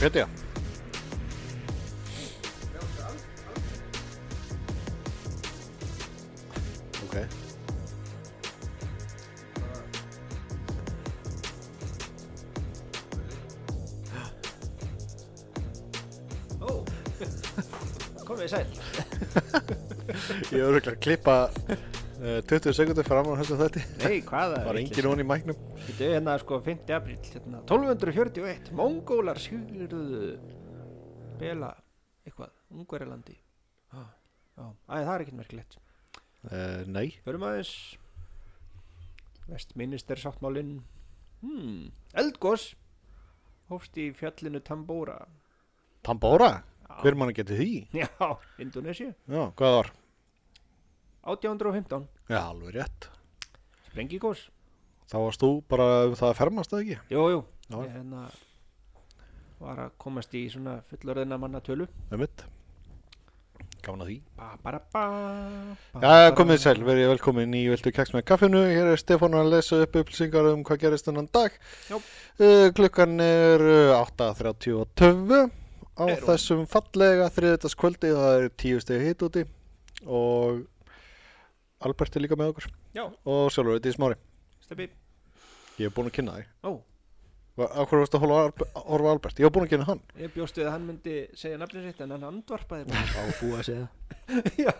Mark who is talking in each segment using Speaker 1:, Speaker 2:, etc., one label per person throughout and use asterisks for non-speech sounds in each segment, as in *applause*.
Speaker 1: hetja Ok
Speaker 2: Ó, komið sæl.
Speaker 1: *laughs* Ég er auðvitað að klippa uh, 20 sekundir fram á þessum þetta
Speaker 2: Nei, hvaða?
Speaker 1: Var engin honi í mæknum
Speaker 2: Þetta er hérna sko 5. apríl, hérna 1241, mongólar sigurðu Bela, eitthvað, Ungverilandi. Já, já, Æ, það er ekkert merkilegt.
Speaker 1: uh, Nei
Speaker 2: Förum aðeins, vestminister sáttmálinn, hmm, eldgós, hófst í fjallinu Tambóra.
Speaker 1: Tambóra? Hver mann geti því?
Speaker 2: Já, *laughs* Indonesia,
Speaker 1: Já, hvað var?
Speaker 2: 1815,
Speaker 1: Já, alveg rétt
Speaker 2: sprengigós.
Speaker 1: Þá varst þú bara um það að fermast það ekki?
Speaker 2: Jú, jú,
Speaker 1: Já.
Speaker 2: ég hérna var að komast í svona fullorðina manna tölu
Speaker 1: Um mitt Gaman að því
Speaker 2: ba, bara, ba, ba,
Speaker 1: Já, komið sæl, verið velkomin í Viltu keks með kaffinu. Hér er Stefán að lesa upp upplýsingar um hvað gerist þennan dag.
Speaker 2: Já.
Speaker 1: Uh, klukkan er uh, 8.32 á
Speaker 2: Er hún?
Speaker 1: þessum fallega þriðutaskvöldi. Það er tíu stegi hitt úti og Albert er líka með okkur
Speaker 2: Já,
Speaker 1: og sjálfur þetta í smári.
Speaker 2: steppi
Speaker 1: Ég er búin að kynna þig.
Speaker 2: Ó,
Speaker 1: Va- Af hverju varstu að horfa á Albe- horfa á Albert? Ég er búin að kynna hann.
Speaker 2: ég bjóst við að hann myndi segja nafnið sitt en hann andvarpaði
Speaker 1: *laughs*
Speaker 2: bara.
Speaker 3: á búa að segja
Speaker 2: Já,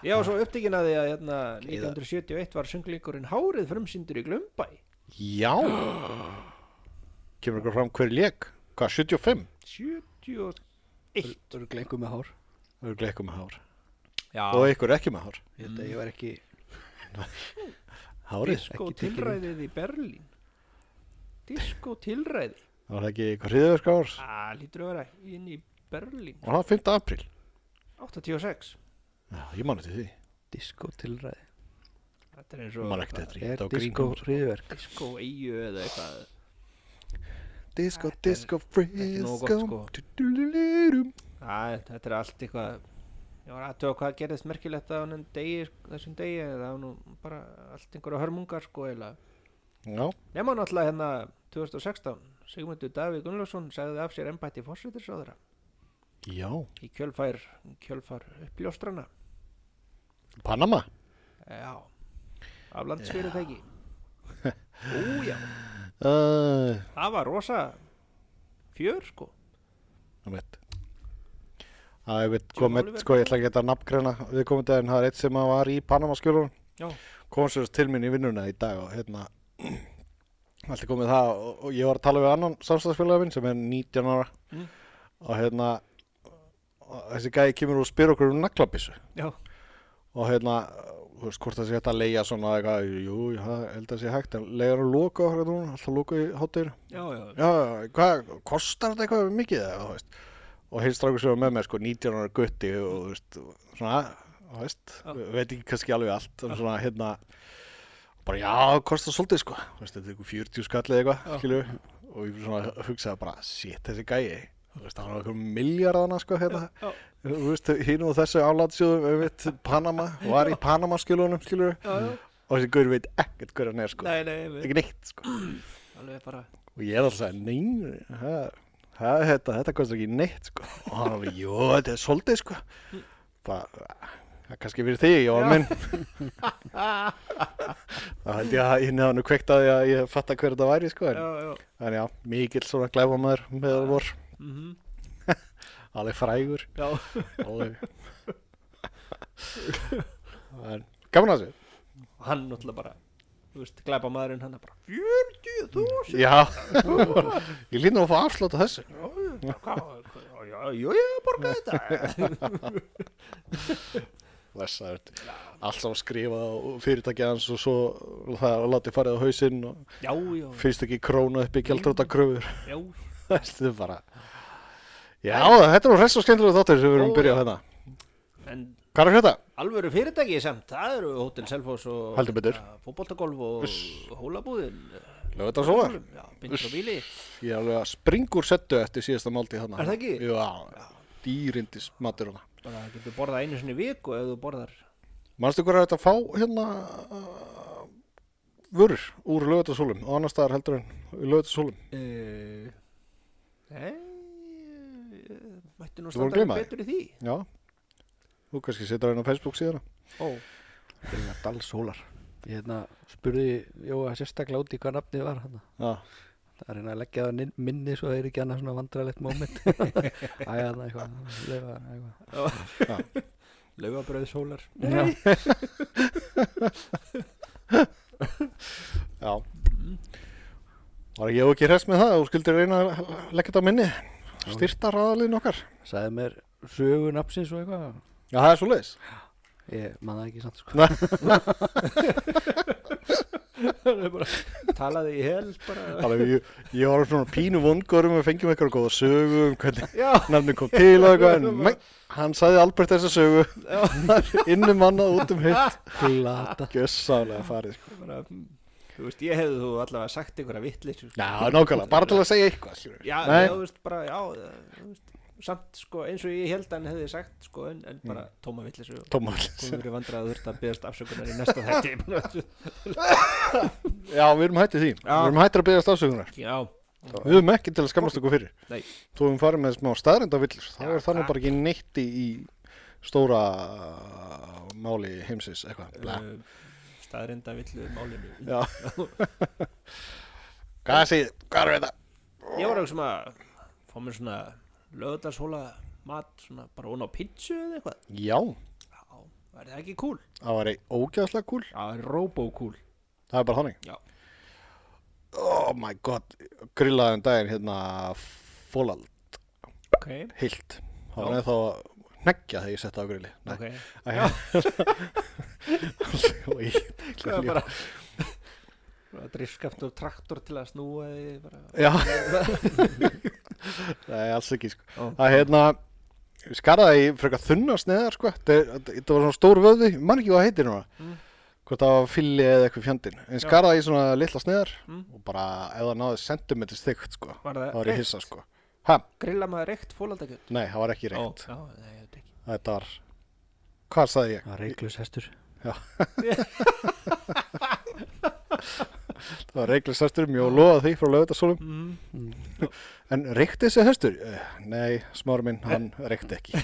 Speaker 2: ég var svo upptekinn að því að hérna, 1971 var sönglíkurinn Hárið frumsýndur í Glömbæ
Speaker 1: Já. Kemur ykkur fram hver lék? Hvað, 75?
Speaker 2: 71
Speaker 3: Það eru glengur með hár
Speaker 1: Það eru leikum með hár.
Speaker 2: Já,
Speaker 1: Og ykkur ekki með hár.
Speaker 3: Ég held að ég var ekki
Speaker 1: Hárið?
Speaker 2: disko
Speaker 3: ekki tekið
Speaker 2: tilræðið í Berlín Disko tilræði
Speaker 1: Það var ekki eitthvað hriðverk ár.
Speaker 2: Það Ah, lítur að vera inn í Berlín
Speaker 1: Og það var 5. apríl.
Speaker 2: 86
Speaker 1: Já, ég man eftir því.
Speaker 3: disko tilræði
Speaker 2: Þetta er eins
Speaker 1: Ég
Speaker 2: og
Speaker 1: man ekkert eftir því.
Speaker 3: Er
Speaker 1: Þetta var
Speaker 3: disko
Speaker 1: grín.
Speaker 3: hriðverk
Speaker 2: Disco eigu eða eitthvað
Speaker 1: Disco,
Speaker 2: Þetta er
Speaker 1: disco,
Speaker 2: ekki nógu
Speaker 1: frisco.
Speaker 2: gott, sko.
Speaker 1: Du-du-du-du-dum.
Speaker 2: Æ, Þetta er allt eitthvað Ég var aðtöða hvað gerðist merkilegt á þennan degi, sko, þessum degi en það var nú bara allt einhverja hörmungar sko eða
Speaker 1: Já,
Speaker 2: Nefna náttúrulega hérna 2016 Sigmundur Davíð Gunnlaugsson sagði af sér embætti fórsveitisráðara
Speaker 1: já.
Speaker 2: í kjölfær, kjölfar uppljóstrana
Speaker 1: Panama.
Speaker 2: Já Aflandsfyrirtæki Ú já,
Speaker 1: Uh,
Speaker 2: það var rosa fjör sko
Speaker 1: ég veit. Það er veit
Speaker 2: Jón
Speaker 1: komið,
Speaker 2: Oliver.
Speaker 1: sko, ég ætla ekki þetta að nafngreina við komum þetta en það er eitt sem að var í Panama skjölunum.
Speaker 2: Já,
Speaker 1: Kom sér til mín í vinnuna í dag og hérna, *clears throat* allt er komið það og, og ég var að tala við annan samstagsfélagin minn sem er 19 ára
Speaker 2: Mm.
Speaker 1: og hérna, og þessi gæði kemur og spyr okkur um naglabissu.
Speaker 2: já,
Speaker 1: og hérna, þú veist, hvort það sé hægt að leia svona eitthvað, jú, ég held að sé hægt en leiðar að loka okkur núna, alltaf loka í hátir
Speaker 2: já, já,
Speaker 1: já, já, hvað, kostar þetta eitthvað mikið eða, þú veist og hinn strákur sem var með mér, sko, 19 ára gutti og, þú veist, svona, þú veist
Speaker 2: Já.
Speaker 1: veit ekki kannski alveg allt en svona, hérna bara, já, kostar svolítið, sko, þú veist, þetta er eitthvað 40 skallið eitthvað,
Speaker 2: Já.
Speaker 1: skilju og ég svona hugsaði bara, shit, þessi gæi þú veist, hann var eitthvað miljardana, sko, hérna
Speaker 2: já.
Speaker 1: þú veist, hinn og þessu álatsjóðum um veit, Panama, var í Panama skilunum skilur,
Speaker 2: já, já.
Speaker 1: og þessi gaur veit ekkert hver hann er sko,
Speaker 2: Nei, nei, við,
Speaker 1: ekki neitt sko
Speaker 2: alveg bara
Speaker 1: og ég er alltaf að, nei það, það, þetta, þetta kostar ekki neitt sko og hann alveg, jú, þetta er svolítið sko bara, það er kannski fyrir þig, Jóhann minn *laughs* þá held ég að hinn hefði hann kveikt að því að ég fatta hver þetta væri sko, en,
Speaker 2: Já, já,
Speaker 1: en já, mikill svona glæfamæður meðal vor,
Speaker 2: mhm,
Speaker 1: alveg frægur
Speaker 2: já
Speaker 1: alveg en, gaman að þessu
Speaker 2: Og hann náttúrulega bara, þú veist, glæpa maðurinn hann er bara 40.000
Speaker 1: Já, ég líti nú að fá afslátt á þessu.
Speaker 2: Já, já, hvað- hvað- já, já, já, borga
Speaker 1: *laughs*
Speaker 2: þetta
Speaker 1: Þessar, alltaf skrifa á fyrirtæki hans og svo það láti farið á hausinn og
Speaker 2: Já, já,
Speaker 1: finnst ekki krónu upp í gjaldróta *laughs* kröfur.
Speaker 2: já
Speaker 1: Þetta er bara, já, þetta er nú hress og skemmtilega þáttir sem við erum
Speaker 2: Ó,
Speaker 1: að byrja á hérna.
Speaker 2: En
Speaker 1: Hvað er þetta?
Speaker 2: alvöru fyrirtæki samt, það eru Hotel Selfoss og hérna,
Speaker 1: Heldur betur.
Speaker 2: Fótboltagolf og hólabúðin
Speaker 1: Lögðu þetta svo?
Speaker 2: Já, bindur og bíli
Speaker 1: Ég er alveg að springur settu eftir síðasta málti hérna.
Speaker 2: Er það ekki?
Speaker 1: Já, dýrindis matur hana.
Speaker 2: Bara getur borðað einu sinni í viku ef þú borðar
Speaker 1: Manstu hvað er þetta að fá hérna uh, vörur úr lögutarsólum og annar staðar heldur en í lögutarsólum?
Speaker 2: Eh, Nei mætti nú
Speaker 1: Þú vorum
Speaker 2: standa
Speaker 1: gleyma því.
Speaker 2: betur í því
Speaker 1: Já, þú kannski setur hann á Facebook síðan
Speaker 2: ó,
Speaker 3: Þetta er dalsólar Ég hérna spurði Jóa sérstaklega út í hvað nafnið var hann
Speaker 1: Já,
Speaker 3: Það er hérna að leggja það inn- minni svo það er ekki annað svona vandralegt *laughs* moment Æja, það eitthvað, lefa, eitthvað
Speaker 2: laufabröð
Speaker 1: *laughs*
Speaker 2: sólar
Speaker 3: Nei.
Speaker 1: já Var ég ekki hress með það, þú skuldir reyna að leggja þetta á minni Styrta raðalinn okkar
Speaker 3: Sæði mér sögu nafnsins og eitthvað
Speaker 1: Já, það er svo leiðis
Speaker 3: Ég man það ekki samt sko
Speaker 2: Það er bara, talaði í hel bara,
Speaker 1: ég, ég var svona pínu vongur um að fengjum eitthvað góða sögu um hvernig
Speaker 2: já,
Speaker 1: nafnum kom til og eitthvað
Speaker 2: *laughs*
Speaker 1: en mæ, hann sagði Albert þessa sögu *laughs* innum annað út um hitt
Speaker 3: Glata
Speaker 1: Gjössálega farið sko.
Speaker 2: bara mm, þú veist, ég hefði þú allavega sagt einhverja vitlis
Speaker 1: Já, nákvæmlega, bara til að segja eitthvað skilurðu.
Speaker 2: já,
Speaker 1: Nei.
Speaker 2: já, þú veist, bara, já það- þú veist, samt, sko, eins og ég held að hann hefði sagt, sko, en, en bara tóma vitlis og
Speaker 1: Tómas
Speaker 2: komum verið vandrað að þurft að beðast afsökunar í næsta *laughs* þætti
Speaker 1: Já, við erum hættið því
Speaker 2: Já.
Speaker 1: Við erum hættir að byrja stafsögunar
Speaker 2: já,
Speaker 1: Við erum ekki til að skammast okkur fyrir
Speaker 2: Nei.
Speaker 1: Þú erum farið með smá staðrendavillur
Speaker 2: Já,
Speaker 1: Það er þannig
Speaker 2: takk.
Speaker 1: bara ekki neitt í, í stóra uh, máli heimsins eitthvað Bla.
Speaker 2: uh, staðrinda villu málinu
Speaker 1: Eh, Já *laughs* Hvað segið, þið? hvað er þetta?
Speaker 2: ég var eitthvað að fá mér svona lögðarshóla mat svona bara ón á pizzu eða eitthvað
Speaker 1: Já,
Speaker 2: já, er það ekki cool?
Speaker 1: það var ein ógæðslega kúl
Speaker 2: já, það er robo-cool
Speaker 1: Það er bara þannig
Speaker 2: já,
Speaker 1: Oh my god, grillaðum daginn hérna fólald,
Speaker 2: ok,
Speaker 1: heilt Það var
Speaker 2: Já.
Speaker 1: ennþá að neggja þegar ég setti á grilli Nei.
Speaker 2: ok
Speaker 1: Æ, *laughs* og ég
Speaker 2: það er bara bara driftskaft og traktor til að snúa því bara
Speaker 1: Já Nei, alls ekki sko
Speaker 2: Ó.
Speaker 1: Það er hérna ég skaraði í frekar þunna sneðar sko Þetta er- þetta- þetta var svona stór vöði, mann ekki hvað það heitir núna
Speaker 2: Mm.
Speaker 1: Hvort það var filli eða eitthvað fjandinn En
Speaker 2: Já.
Speaker 1: skaraði í svona litla sneðar
Speaker 2: Mm.
Speaker 1: Og bara ef það náði sentimeters þykkt sko
Speaker 2: Var það
Speaker 1: Það var ég
Speaker 2: reykt?
Speaker 1: hissa sko Ha,
Speaker 2: grilla maður reykt fólaldakjöld
Speaker 1: nei, það var ekki
Speaker 2: já,
Speaker 1: reykt
Speaker 2: já, nei, þetta ekki
Speaker 1: Þetta var, hvað sagði ég?
Speaker 3: Það var reiklus hestur
Speaker 1: Það var reiklis hestur, mjög loðað því frá lögutasólum
Speaker 2: mm.
Speaker 1: En reykti þessi hestur? Eh, Nei, smári minn, hann reykti ekki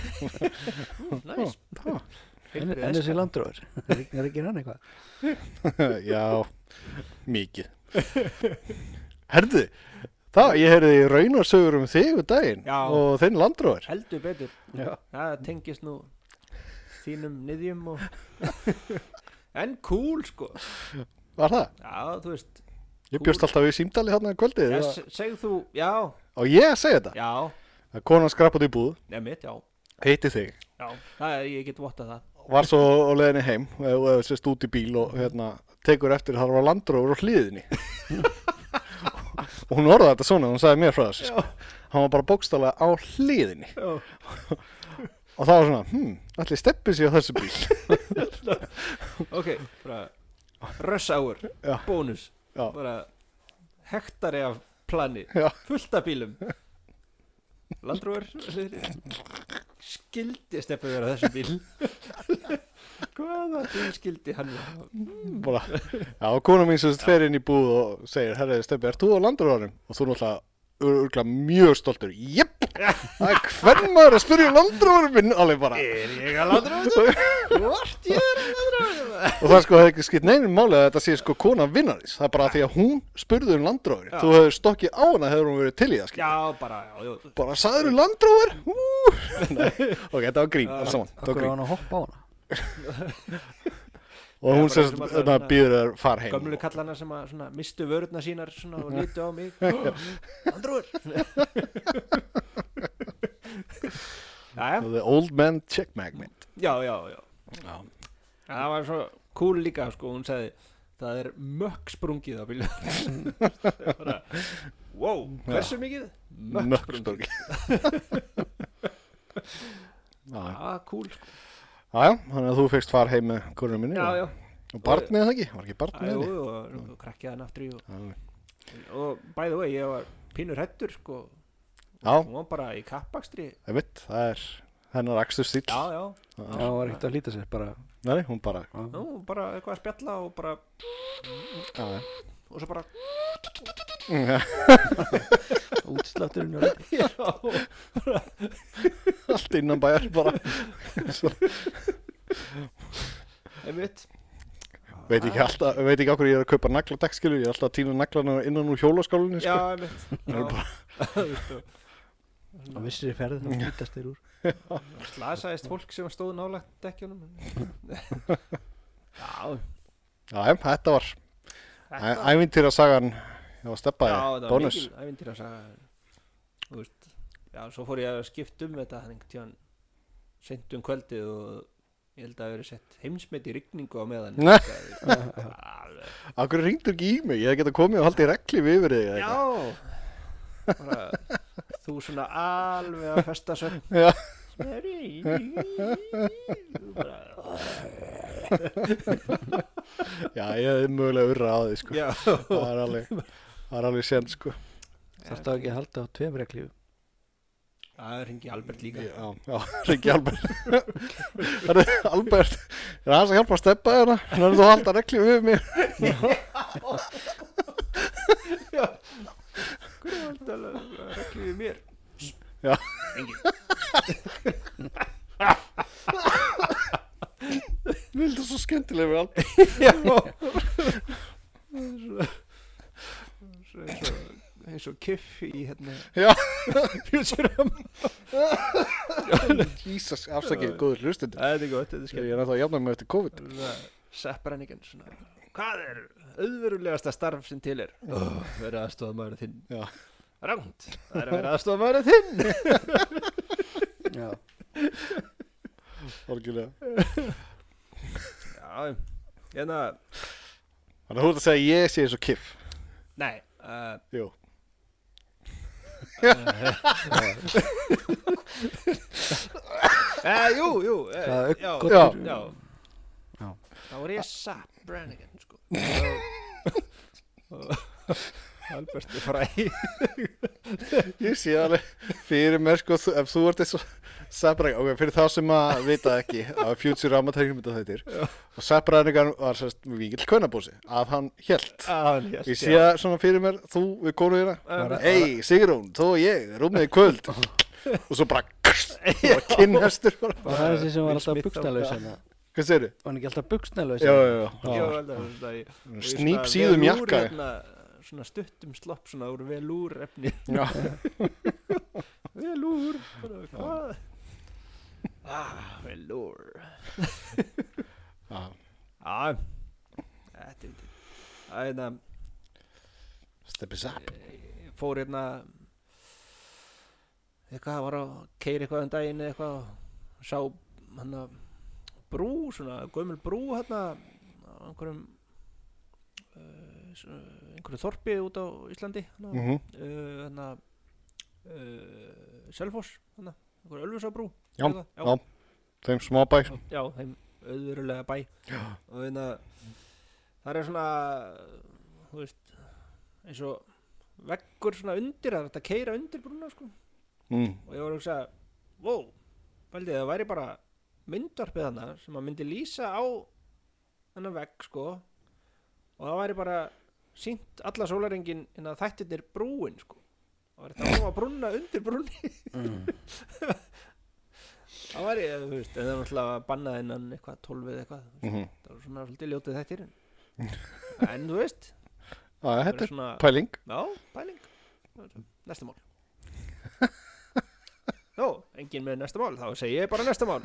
Speaker 2: næs
Speaker 1: Ha.
Speaker 3: En
Speaker 2: Heilbrigð
Speaker 3: en þessi
Speaker 2: æska.
Speaker 3: landróður Er ekki- er ekki hann eitthvað?
Speaker 1: *laughs* Já, mikið Herðu, það, ég heyrði raunarsögur um þig um daginn
Speaker 2: Já.
Speaker 1: og þinn landróður
Speaker 2: heldur betur
Speaker 3: Já
Speaker 2: það tengist nú þínum niðjum og
Speaker 1: *laughs*
Speaker 2: en cool sko
Speaker 1: Var það?
Speaker 2: já þú veist
Speaker 1: Ég bjóst alltaf við símdali hérna um kvöldið
Speaker 2: já,
Speaker 1: yes.
Speaker 2: se- segð þú já
Speaker 1: og ég að segja þetta
Speaker 2: já
Speaker 1: að konan skrapaði í búð,
Speaker 2: nefnitt já
Speaker 1: heiti þig
Speaker 2: já það er ég get vottað það
Speaker 1: var svo
Speaker 2: *laughs*
Speaker 1: á leiðinni heim og eða sérst út í bíl og hérna tekur eftir að það var landróður á
Speaker 2: *laughs*
Speaker 1: hliðinni og hún orðaði þetta svona hún sagði mér frá þessu sko. hann var bara bókstálega á hliðinni
Speaker 2: Já.
Speaker 1: og það var svona, hm, allir steppi sér á þessu bíl
Speaker 2: ok bara rush hour
Speaker 1: Já.
Speaker 2: bónus
Speaker 1: Já.
Speaker 2: bara hektari af plani
Speaker 1: Já.
Speaker 2: fullt af bílum landrúar skildi stefnir vera þessu bíl hvaða bíl skildi hann vera?
Speaker 1: bara, já, og kona mín sem sagt fer inn í búð og segir, herri, steppi, ert þú á landróðanum? Og þú náttúrulega örgla mjög stoltur, jepp, það er hvern maður að spyrja landróðanum minn, alveg bara.
Speaker 2: er ég að landrúar hvort ég er að landrúar
Speaker 1: Og það er sko hefði ekki skipt neinin máli að þetta sé sko kona vinnarins, það er bara því að hún spurði um landróður,
Speaker 2: Já.
Speaker 1: þú hefur stokkið á hana hefur hún verið til í það, skil.
Speaker 2: já bara já, já,
Speaker 1: Bara, sagður um landróður? Nei, ok, þetta var grín, alls saman, þetta var
Speaker 3: Akkur á
Speaker 1: grín.
Speaker 3: hann að hoppa á hana
Speaker 1: Og hún
Speaker 2: Já, bara
Speaker 1: sérst,
Speaker 2: sem að-
Speaker 1: þarna býður þér far heim.
Speaker 2: gömlu kallana sem að svona, mistu vörðna sínar svona, og lítu á mig Andrúr Jæja,
Speaker 1: The old man check magnet.
Speaker 2: *laughs* já, já, já
Speaker 1: Já.
Speaker 2: það var svo cool líka sko, hún sagði það er mökk sprungið á bílum
Speaker 1: *laughs*
Speaker 2: bara, wow, hversu mikið?
Speaker 1: Mökkstorgi
Speaker 2: *laughs* Já,
Speaker 1: Já,
Speaker 2: cool sko.
Speaker 1: já, þannig að þú fegst far heim með konunum minni
Speaker 2: já,
Speaker 1: og-
Speaker 2: já,
Speaker 1: og barnið það ekki, var ekki barnið
Speaker 2: Æjú,
Speaker 1: henni?
Speaker 2: og, og krakkið hann aftur í og,
Speaker 1: Já,
Speaker 2: og by the way, ég var pínur hættur sko,
Speaker 1: Já,
Speaker 2: hún var bara í kappakstri
Speaker 1: ég veit, það er hennar akstur stíl
Speaker 2: já, já,
Speaker 3: Já, hann var ekkert að hlýta sér bara
Speaker 1: Nei, hún bara
Speaker 2: nú, bara eitthvað að spjalla og bara
Speaker 1: já, *laughs* já.
Speaker 2: og svo bara
Speaker 3: útslátturinn og allt.
Speaker 2: *laughs* Já,
Speaker 1: allt innan bæjar bara *laughs* Svo,
Speaker 2: einmitt
Speaker 1: veit ekki alltaf, veit ekki okkur ég er að kaupa nagladekk skilur, ég er alltaf að týna naglana innan úr hjólaskálunni
Speaker 2: Já,
Speaker 1: sko.
Speaker 2: einmitt
Speaker 1: Það er
Speaker 2: Já. *laughs*
Speaker 3: og vissir í ferð þá hýtast þeir úr
Speaker 2: Slasaðist fólk sem stóð nálægt dekkjunum
Speaker 1: *laughs*
Speaker 2: Já,
Speaker 1: Já, em, þetta var
Speaker 2: þetta
Speaker 1: ævintýra sagan á steppa,
Speaker 2: Já, þetta var
Speaker 1: bónus
Speaker 2: mikil ævintýra saga Þú veist Já, svo fór ég að skipta um þetta þannig tíðan seint um kvöldið og ég held að það hafi verið sett heimsmet í rigningu á meðan
Speaker 1: Nei.
Speaker 2: Þetta er alveg-
Speaker 1: Akkur ringdur ekki í mig, ég hef geta komið og haldið regli við yfir þig eða eitthvað.
Speaker 2: Já bara, Þú svona alveg að festa svefn
Speaker 1: Já.
Speaker 2: Snorri. Þú bara,
Speaker 1: Já, ég hef mögulega urra á því sko.
Speaker 2: Já
Speaker 1: það er alveg það er alveg sent sko.
Speaker 3: þarf það ekki að halda á tveim reglífu
Speaker 2: Það ringi Albert líka
Speaker 1: Já, já, *laughs* ringi Albert Herru, Albert er aðeins að hjálpa að steppa þérna Nörðu þú að halda regli við mér
Speaker 2: Hverju haldið að reglum við mér?
Speaker 1: Já.
Speaker 2: Engin
Speaker 1: Vildu svo skemmtilega við Albert
Speaker 2: Já Svo- eins og eins og kiff í hérna
Speaker 1: Já.
Speaker 2: Futurum
Speaker 1: *laughs* Jesus, afsakið, góður hlustundur
Speaker 2: Það er gott, þetta er
Speaker 1: Ég er ennþá að jafna mig eftir COVID
Speaker 2: skemmt Sepparennigan svona Hvað er auðverulegasta starf sem til er? Oh, verið aðstofað maður þinn
Speaker 1: Já.
Speaker 2: Rangt, það er að vera aðstofað maður þinn
Speaker 3: já,
Speaker 1: Orgilega
Speaker 2: Já, hérna
Speaker 1: Þannig að þú ert að segja að ég sé eins og kiff
Speaker 2: Nei uh,
Speaker 1: Jú
Speaker 2: uh, Jú, jú uh,
Speaker 3: það er
Speaker 2: já,
Speaker 3: auggotur
Speaker 2: já.
Speaker 3: Já.
Speaker 2: Þá er ég Sepparennigan sko Og- og- Albert er fræði
Speaker 1: Ég sé alveg fyrir mér sko þú- ef þú ert eins og Sabræk ok, fyrir þá sem að vita ekki að Futurama teiknum þetta þeitir og Sabrænigan var sérst vikill kvönabósi að hann hélt Ég sé að svona fyrir mér, þú við konu hérna
Speaker 2: Bara-
Speaker 1: Ei, Sigrún, þú og ég, rúmið í kvöld og svo bara bara kynhestur bara.
Speaker 3: og það er þessi sem var
Speaker 2: Will
Speaker 3: alltaf
Speaker 2: Smith
Speaker 3: buksnalaus
Speaker 2: þarna.
Speaker 3: hérna.
Speaker 1: Hvað segirðu?
Speaker 3: var hann ekki alltaf buksnalaus
Speaker 1: Já,
Speaker 3: hérna?
Speaker 1: já, já, já. Sníp síðum
Speaker 2: Snýpsíðum
Speaker 1: jakka
Speaker 2: hérna, Svona stuttum slopp Svona úr velúr efni
Speaker 1: Já,
Speaker 2: *laughs* Velúr bara, Hvað? Ah, velúr
Speaker 1: já,
Speaker 2: Já Þetta er Það er hérna
Speaker 1: steppi sap
Speaker 2: ég Fór hérna Eitthvað var að keira eitthvað um daginn eða eitthvað og Sá hann að Brú svona Gömul brú hérna Á einhverjum eh, svona, einhverju þorpi út á Íslandi hana,
Speaker 1: Mhm.
Speaker 2: uh, hana, uh, Selfoss hana, einhver Ölfusabrú
Speaker 1: Já,
Speaker 2: eða eitthvað,
Speaker 1: já, þeim smábær
Speaker 2: já, já, þeim auðverulega bæ já. og þeirna, það er svona þú veist eins og veggur svona undir það er hægt að keira undir brúna sko.
Speaker 1: mm.
Speaker 2: og ég var að hugsa wow, veldi það væri bara myndvarpið hana sem að myndi lýsa á hennar vegg sko og það væri bara sínt alla sólaringin en að þættirnir brúin sko og það væri þetta að koma brúna undir brúni *laughs*
Speaker 3: Mm.
Speaker 2: það væri, þú veist, en það er náttúrulega bannað innan eitthvað 12 eða eitthvað þú veist,
Speaker 1: Mhm.
Speaker 2: það var svona svolítið ljótið þættir en, en þú veist,
Speaker 1: Já,
Speaker 2: það
Speaker 1: þetta
Speaker 2: er
Speaker 1: er
Speaker 2: svona
Speaker 1: pæling
Speaker 2: Já, pæling Næsta mál Jó, engin með næsta mál Þá segi ég bara næsta mál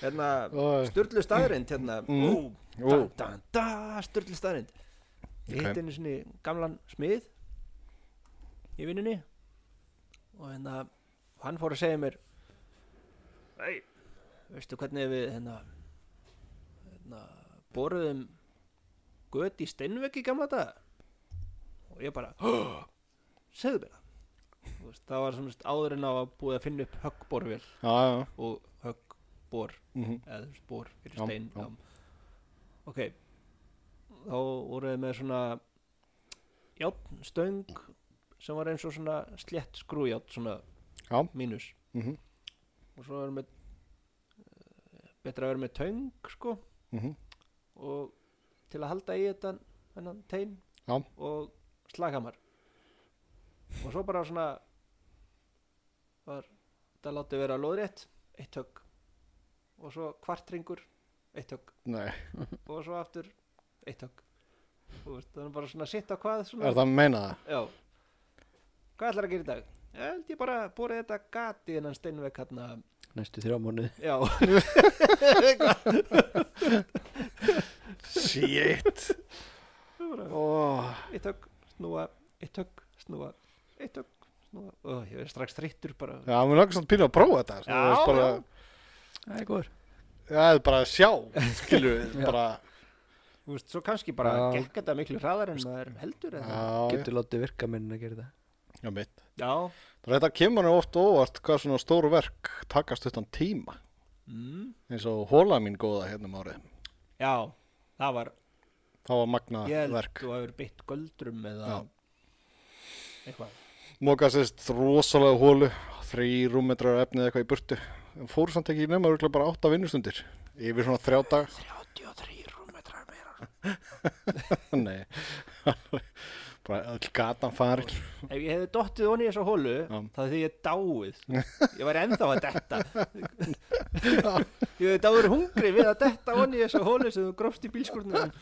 Speaker 2: Hérna
Speaker 1: Ó,
Speaker 2: Sturlu staðrind hérna Ú,
Speaker 1: Mm. Ó.
Speaker 2: da, da, da, Sturlu staðrind Ég
Speaker 1: Ok.
Speaker 2: hitt einu sinni gamlan smið Í vinnunni Og hérna Hann fór að segja mér Nei, veistu hvernig við hérna, hérna Boruðum Göt í steinvegg í gamla dag Og ég bara Segðu mér það Þú veist, Það var svona áður en á að búið að finna upp höggborvél
Speaker 1: Já, já,
Speaker 2: og höggbor
Speaker 1: Mhm.
Speaker 2: eða spor fyrir
Speaker 1: Já,
Speaker 2: stein
Speaker 1: já.
Speaker 2: já. ok þá voru þið með svona játnstöng sem var eins og svona slett skrújátt svona
Speaker 1: Já.
Speaker 2: mínus
Speaker 1: Mhm.
Speaker 2: og svo erum við eh, betra að vera með töng sko
Speaker 1: Mhm.
Speaker 2: og til að halda í þetta þennan tein
Speaker 1: Já.
Speaker 2: og slaghamar og svo bara svona var þetta látið vera lóðrétt eitt högg og svo kvartringur eitt högg
Speaker 1: Nei,
Speaker 2: og svo aftur eitt högg og þú veist, það er bara svona sitt á hvað svona.
Speaker 1: er það að meina það?
Speaker 2: Já Hvað ætlar að gera í dag? Ég held ég bara að búið þetta gati innan steinvegg hérna
Speaker 3: næstu þrjá mánuði
Speaker 2: Já
Speaker 1: Shit oh,
Speaker 2: Eitt högg, snúa, eitt högg, snúa, eitt högg, snúa Ó, Ég er strax þreyttur bara
Speaker 1: Já, mér langar svona pínu að prófa þetta svona,
Speaker 2: Já,
Speaker 1: þú veist, bara,
Speaker 2: já.
Speaker 3: það er góður
Speaker 1: já, það er bara að sjá skilur við,
Speaker 3: Já.
Speaker 1: bara
Speaker 2: Þú veist, svo kannski bara
Speaker 3: Já.
Speaker 2: gekk þetta miklu hraðar en maður heldur eða
Speaker 1: Já,
Speaker 3: getur látið virka minn að gera það
Speaker 1: já, já mitt
Speaker 2: Já
Speaker 1: Það er þetta kemur nú oft á óvart hvað svona stóru verk takast utan tíma
Speaker 2: mm.
Speaker 1: eins og hóla mín góða hérna um árið
Speaker 2: Já, það var
Speaker 1: Það var magna
Speaker 2: Ég held
Speaker 1: Ah, verk
Speaker 2: þú hefur beitt göldrum eða
Speaker 1: Já.
Speaker 2: Eitthvað
Speaker 1: Móka sérst rosalega hólu þrý rúmmetrar efnið eitthvað í burtu En fóru samt ekki í nema örugglega bara átta vinnustundir yfir svona þrjá dag
Speaker 2: 33 rúmetrar meira
Speaker 1: *laughs* Nei *laughs* bara öll gatan farin
Speaker 2: Ef ég hefði dottið onni í þessu hólu
Speaker 1: Já.
Speaker 2: þá hefði ég
Speaker 1: *laughs*
Speaker 2: dáið Ég var ennþá að detta *laughs* Ég hefði dáður hungri við að detta onni í þessu hólu sem þú grófst í bílskúrnum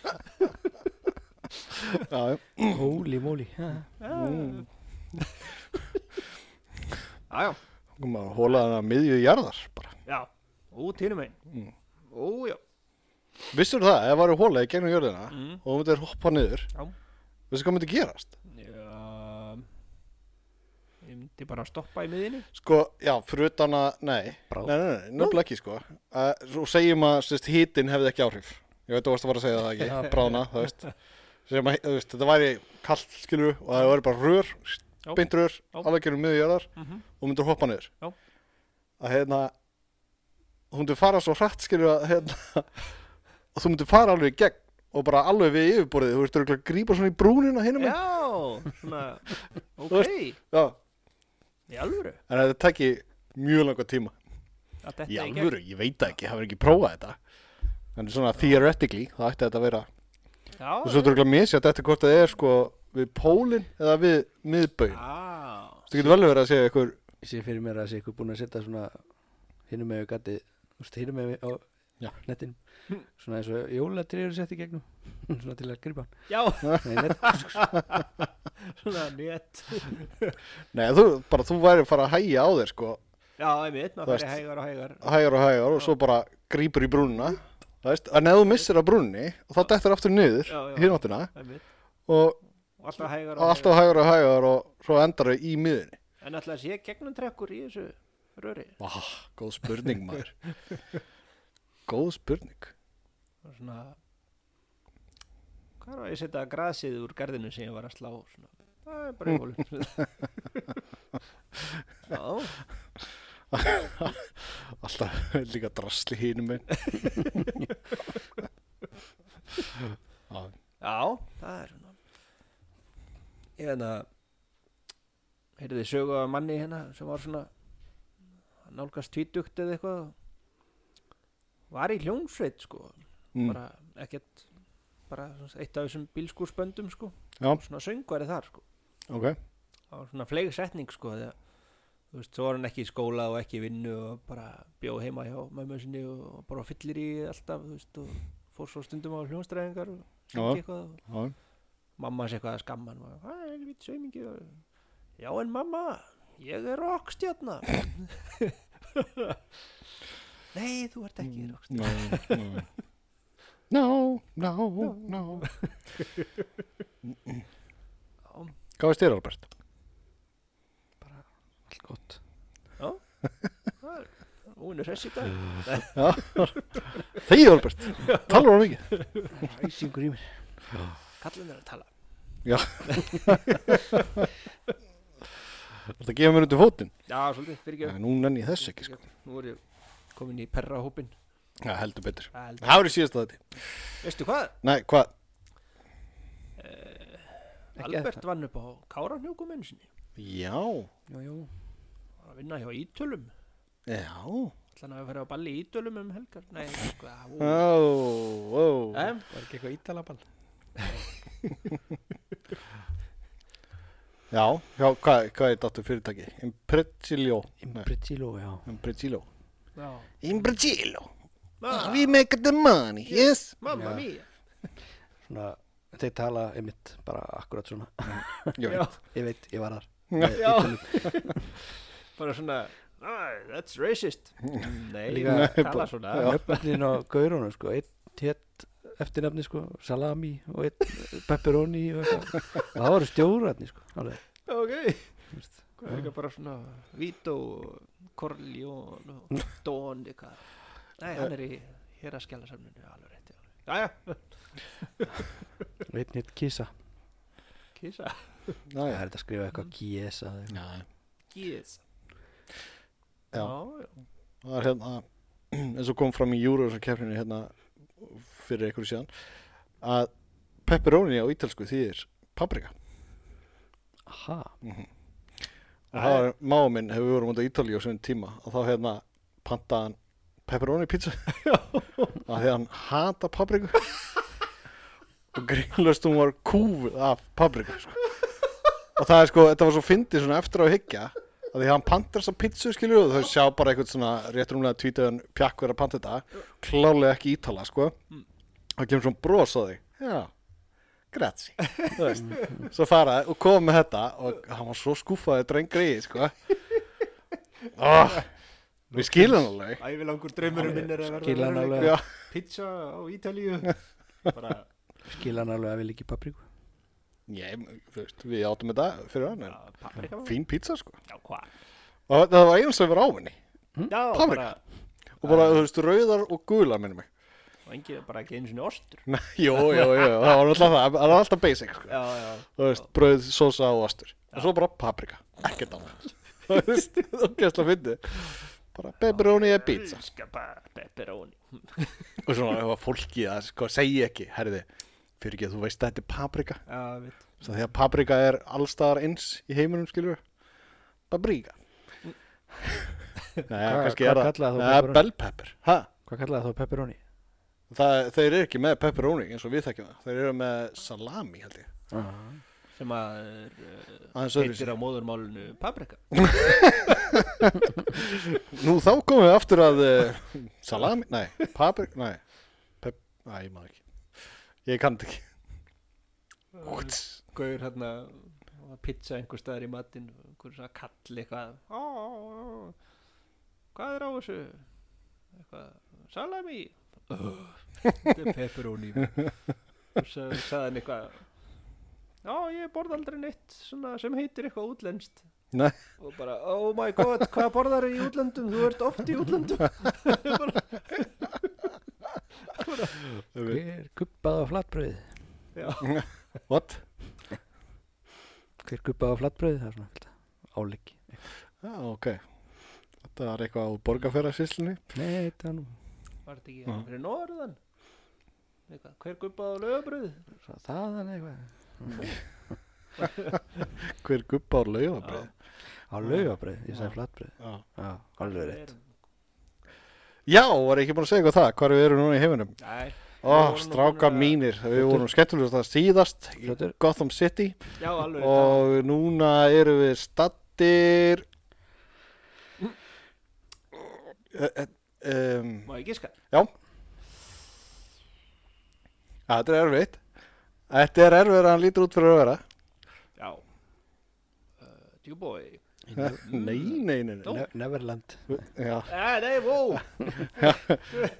Speaker 1: Já, já
Speaker 3: hóli móli
Speaker 2: mm. Já, já,
Speaker 1: Hún maður hólaði hann að miðju jarðar bara.
Speaker 2: já Út hínum einn
Speaker 1: Mm.
Speaker 2: Ó, já
Speaker 1: Vissur það, ef það væri hólaði gegnum jörðina
Speaker 2: Mm.
Speaker 1: og þú myndir hoppa niður,
Speaker 2: Já,
Speaker 1: vissur hvað myndi gerast?
Speaker 2: já. Ég myndi bara að stoppa í miðinni
Speaker 1: Sko, já, fyrir utan að, nei, nei,
Speaker 3: Bráð.
Speaker 1: nei, nei, nöfnilega ekki, sko. Uh, svo segjum að, sérst, hítin hefði ekki áhrif. Ég veit, þú varst að fara að segja það *laughs* ekki, brána, þú veist. Segjum að, þú veist, þetta væri kallt, skilur, og það væri bara rör,
Speaker 2: Já.
Speaker 1: beint rör,
Speaker 2: Já.
Speaker 1: alveg gerum miður jörðar
Speaker 2: Mhm.
Speaker 1: og myndir hoppa niður.
Speaker 2: Já.
Speaker 1: Að, hérna, þú myndir fara svo hratt, skilur, að, hérna, *laughs* og þú myndir fara alveg í gegn og bara alveg við yfirborðið, þú veist, örugglega að grípa svona í brúnina hinum megin.
Speaker 2: Já,
Speaker 1: *laughs*
Speaker 2: svona Ok,
Speaker 1: Já.
Speaker 2: í alvöru
Speaker 1: En þetta tekki mjög langa tíma.
Speaker 2: Að detta
Speaker 1: Í
Speaker 2: í gegn.
Speaker 1: alvöru, ég veit það ekki, það verður ekki prófað þetta En svona theoretically, það ætti þetta að vera Og
Speaker 2: Já,
Speaker 1: svo þurfum við að misja þetta eftir hvort það er sko við pólinn eða við miðbögin
Speaker 2: Ah, já
Speaker 1: Það getur vel verið að segja ykkur
Speaker 3: ég sé fyrir mér að sé ykkur búin að setja svona hinum með gatið þú veist, hinum með á
Speaker 1: Já.
Speaker 3: nettinum svona eins og jólatri eru sett í gegnum *laughs* svona til að gripa hann
Speaker 2: Já, *laughs*
Speaker 3: Nei, net,
Speaker 2: svona net
Speaker 1: Nei, þú, bara þú væri að fara að hægja á þér sko
Speaker 2: Já, einmitt,
Speaker 1: Þú
Speaker 2: maður
Speaker 1: veist.
Speaker 2: fyrir hægar og hægar
Speaker 1: Hægar og hægar og svo bara grípur í brúnina Það veist, en ef þú missir af brúnni og þá dettur aftur niður
Speaker 2: Já, já.
Speaker 1: hináttina
Speaker 2: einmitt,
Speaker 1: og,
Speaker 2: og alltaf hægar
Speaker 1: og
Speaker 2: og hægar
Speaker 1: alltaf hægar og hægar og svo endar þau í miðinni
Speaker 2: En alltaf sé gegnum trekkur í þessu röri
Speaker 1: Vá,
Speaker 2: Ah,
Speaker 1: góð spurning
Speaker 2: *laughs*
Speaker 1: maður Góð spurning
Speaker 2: og svona Hvað var ég að setja grasið úr garðinu sem ég var að slá svona, Það er
Speaker 1: *laughs*
Speaker 2: bara í hólum Já,
Speaker 1: Alltaf *laughs* líka drasli hínum minn Já,
Speaker 2: já, það er svona Ég hérna Heyrðu þið sögu að manni hérna sem var svona nálgast tvítugt eða eitthvað var í hljómsveit sko
Speaker 1: mm.
Speaker 2: bara ekkert bara svona eitt af þessum bílskúrsböndum sko
Speaker 1: Já.
Speaker 2: svona söngvari þar sko
Speaker 1: ok
Speaker 2: það var svona fleig setning sko því að þú veist, svo var hann ekki í skóla og ekki í vinnu og bara bjó heima hjá mömmu sinni og bara fyllir í alltaf þú veist og fór svo stundum á hljónstræðingar og
Speaker 1: Já.
Speaker 2: syngi eitthvað og
Speaker 1: Já,
Speaker 2: mamma sé eitthvað að skamma hann og það er ekki vitt saumingi og já en mamma, ég er rockstjarna *laughs* nei þú ert ekki rockstjarna
Speaker 1: no, no. no, no, no
Speaker 2: Já.
Speaker 1: Hvað veist þér Albert?
Speaker 3: allt gott
Speaker 2: Það er- hún er hress í dag
Speaker 1: Þegi Albert, talar hann mikið
Speaker 3: ræsingur í mér
Speaker 2: kallin er að tala
Speaker 1: Það gefa mér undir fótinn
Speaker 2: já svolítið,
Speaker 1: Nei,
Speaker 2: fyrirgjöf
Speaker 1: Nú nenni ég þess ekki sko
Speaker 2: nú er ég komin í perrahópin
Speaker 1: Já, heldur betur
Speaker 2: Held-
Speaker 1: Það verður síðast að þetta
Speaker 2: veistu hvað,
Speaker 1: Nei, hvað?
Speaker 3: Ekki
Speaker 2: Albert vann upp á Káranjókum einu sinni
Speaker 1: Já,
Speaker 3: jú, jú.
Speaker 2: var að vinna hjá Ítölum
Speaker 1: já
Speaker 2: ætla hann að fara á balli í Ítölum um helgar nei, sko,
Speaker 1: Ó, ó
Speaker 2: það
Speaker 3: var ekki eitthvað ítalaball
Speaker 1: Já, já hvað, hvað er dáttu fyrirtæki? Imprezilio
Speaker 3: Imbricilo, já
Speaker 1: Imprezilio
Speaker 2: Já.
Speaker 1: Imprezilio
Speaker 2: Ah,
Speaker 1: We make the money, yes
Speaker 2: mamma
Speaker 3: Já.
Speaker 2: mía.
Speaker 3: Svona, þeir tala einmitt bara akkurat svona
Speaker 1: Ég
Speaker 2: Já.
Speaker 1: veit
Speaker 3: Ég veit, ég var þar
Speaker 1: Já.
Speaker 2: Já. *laughs* Bara svona, ah, that's racist. Nei,
Speaker 3: Líka-
Speaker 2: Líka,
Speaker 1: Nei,
Speaker 2: tala
Speaker 1: bara-
Speaker 2: svona.
Speaker 3: Nöfnin á gaurunum, sko Einn hétt eftirnafni, sko Salami og einn pepperoni og eitthvað Og það voru stjórarni, sko Alveg,
Speaker 2: Ok.
Speaker 3: þú veist
Speaker 2: Hvað er ekki bara svona, Vito, Corleone,
Speaker 3: *laughs*
Speaker 2: og Don, eitthvað. Nei, hann er í hér að skjala samninu, alveg rétt. já. Jæja,
Speaker 3: Og einn hétt Kisa
Speaker 2: kísa.
Speaker 1: Já,
Speaker 3: Það
Speaker 1: já.
Speaker 3: er þetta að skrifa eitthvað Kiesa eða eitthvað.
Speaker 1: Já,
Speaker 2: Kísa.
Speaker 1: Já.
Speaker 2: já.
Speaker 1: það er hérna *clears throat* eins og kom fram í Eurovision keppninu hérna fyrir einhverju síðan að pepperoni á ítalsku þýðir paprika
Speaker 3: Aha,
Speaker 1: og það var máa minn hefur við vorum út á Ítalíu á svona tíma og þá hérna pantaðan pepperoni pizza að því að hann hata papriku *laughs* og grínlöst hún var kúfið af papriku sko. og það er sko, þetta var svo fyndið svona eftir á að hyggja að því að hann pantar svo pizzu skilur og þau sjá bara eitthvað svona rétt rúmlega tvítuðan pjakk verið að panta þetta klálega ekki ítala sko það kemur svona bros á þig já, grazi Þú veist. svo faraði og kom með þetta og hann var svo skúfaði drengri í sko oh, við skilum alveg
Speaker 2: Ævilangur draumurum minn er að verða
Speaker 3: Skil hann
Speaker 2: að
Speaker 3: alveg.
Speaker 1: já,
Speaker 2: pizza á
Speaker 3: *laughs*
Speaker 2: Ítalíu bara,
Speaker 3: skil hann alveg að vil ekki papriku
Speaker 1: ég, þú veist, við áttum þetta fyrir hann
Speaker 2: já,
Speaker 1: en
Speaker 2: paprika var-
Speaker 1: fín pizza sko
Speaker 2: Já, hvað?
Speaker 1: og það var einu sem var ávinni
Speaker 3: Hm?
Speaker 2: Já,
Speaker 1: Paprika.
Speaker 2: bara,
Speaker 1: og bara, þú veist, rauðar og gula minnum mig
Speaker 2: og engi, bara ekki einu sinni ostur
Speaker 1: Nei, Jó, jó, jó, það var alltaf það, það var alltaf basic sko.
Speaker 2: Já, já,
Speaker 1: Þú veist, brauð, sósa og ostur Og svo bara paprika, ekkert *laughs* annað Þú veist, það er gæstlega fyndið Bara pepperoni eða pizza
Speaker 2: skapa, pepperoni
Speaker 1: Og svona, ef að fólki að sko, segja ekki Herði, fyrir ekki að þú veist að þetta er paprika
Speaker 2: Já, veit
Speaker 1: Svo því að paprika er allstaðar eins í heiminum, skilur Paprika Nei, kannski
Speaker 3: hvað
Speaker 1: er það
Speaker 3: kallaði þú
Speaker 1: Nei,
Speaker 3: pepperoni?
Speaker 1: Bell pepper, hæ?
Speaker 3: Hvað kallaði það pepperoni?
Speaker 1: Það, þeir eru ekki með pepperoni eins og við þekkjum það Þeir eru með salami held ég
Speaker 2: sem að er, uh,
Speaker 1: Aðeins öðruvísi.
Speaker 2: heitir á móðurmálinu paprika
Speaker 1: Nú þá komum við aftur að uh, salami, nei, paprika, nei pep, Næ, ég maður ekki Ég kann þetta ekki Úts
Speaker 2: Gauður hérna og pizza einhver staðar í matinn einhver svona kall eitthvað "Ó, ó, ó, hvað er á þessu eitthvað, salami "Ugh, þetta er pepperoni og svo sagði hann eitthvað já ég borða aldrei neitt svona sem heitir eitthvað útlenskt
Speaker 1: Nei,
Speaker 2: og bara oh my god hvað borðar í útlöndum þú ert oft í útlöndum *laughs* bara,
Speaker 1: við veit,
Speaker 3: Hver gubbaði á flatbröði?
Speaker 2: já,
Speaker 1: what?
Speaker 3: Hver gubbaði á flatbröði? Það er svona fylgta. álíki
Speaker 1: Já, ok Þetta var eitthvað á borgarferðarsýslinni
Speaker 3: Nei, þetta er nú
Speaker 2: var þetta ekki fyrir norðan Eitthvað, hver gubbað á lögabröð
Speaker 3: svo það er eitthvað
Speaker 1: Hver gubba á laufabrið
Speaker 3: Á laugabröði, ég sagði flatbröði
Speaker 1: Já.
Speaker 3: Já, alveg rétt
Speaker 1: Já, var ég ekki búin að segja eitthvað það, hvar við erum núna í heiminum
Speaker 2: Nei, við
Speaker 1: Ó,
Speaker 2: vorum nú
Speaker 1: strákar
Speaker 2: búin að-
Speaker 1: mínir, við vorum skemmtulegast að síðast í
Speaker 3: Fljótur.
Speaker 1: Gotham City
Speaker 2: Já, alveg
Speaker 1: og
Speaker 2: og...
Speaker 1: núna erum við stattir Mm. Eh, um,
Speaker 2: Má ég giska?
Speaker 1: já Ja, þetta er erfitt þetta er erfitt að hann lítur út fyrir að vera
Speaker 2: Já uh, Djúbói
Speaker 1: nei, nei, nei, nei.
Speaker 3: Ne Neverland
Speaker 1: Já,
Speaker 2: Nei, Eh, nei, wow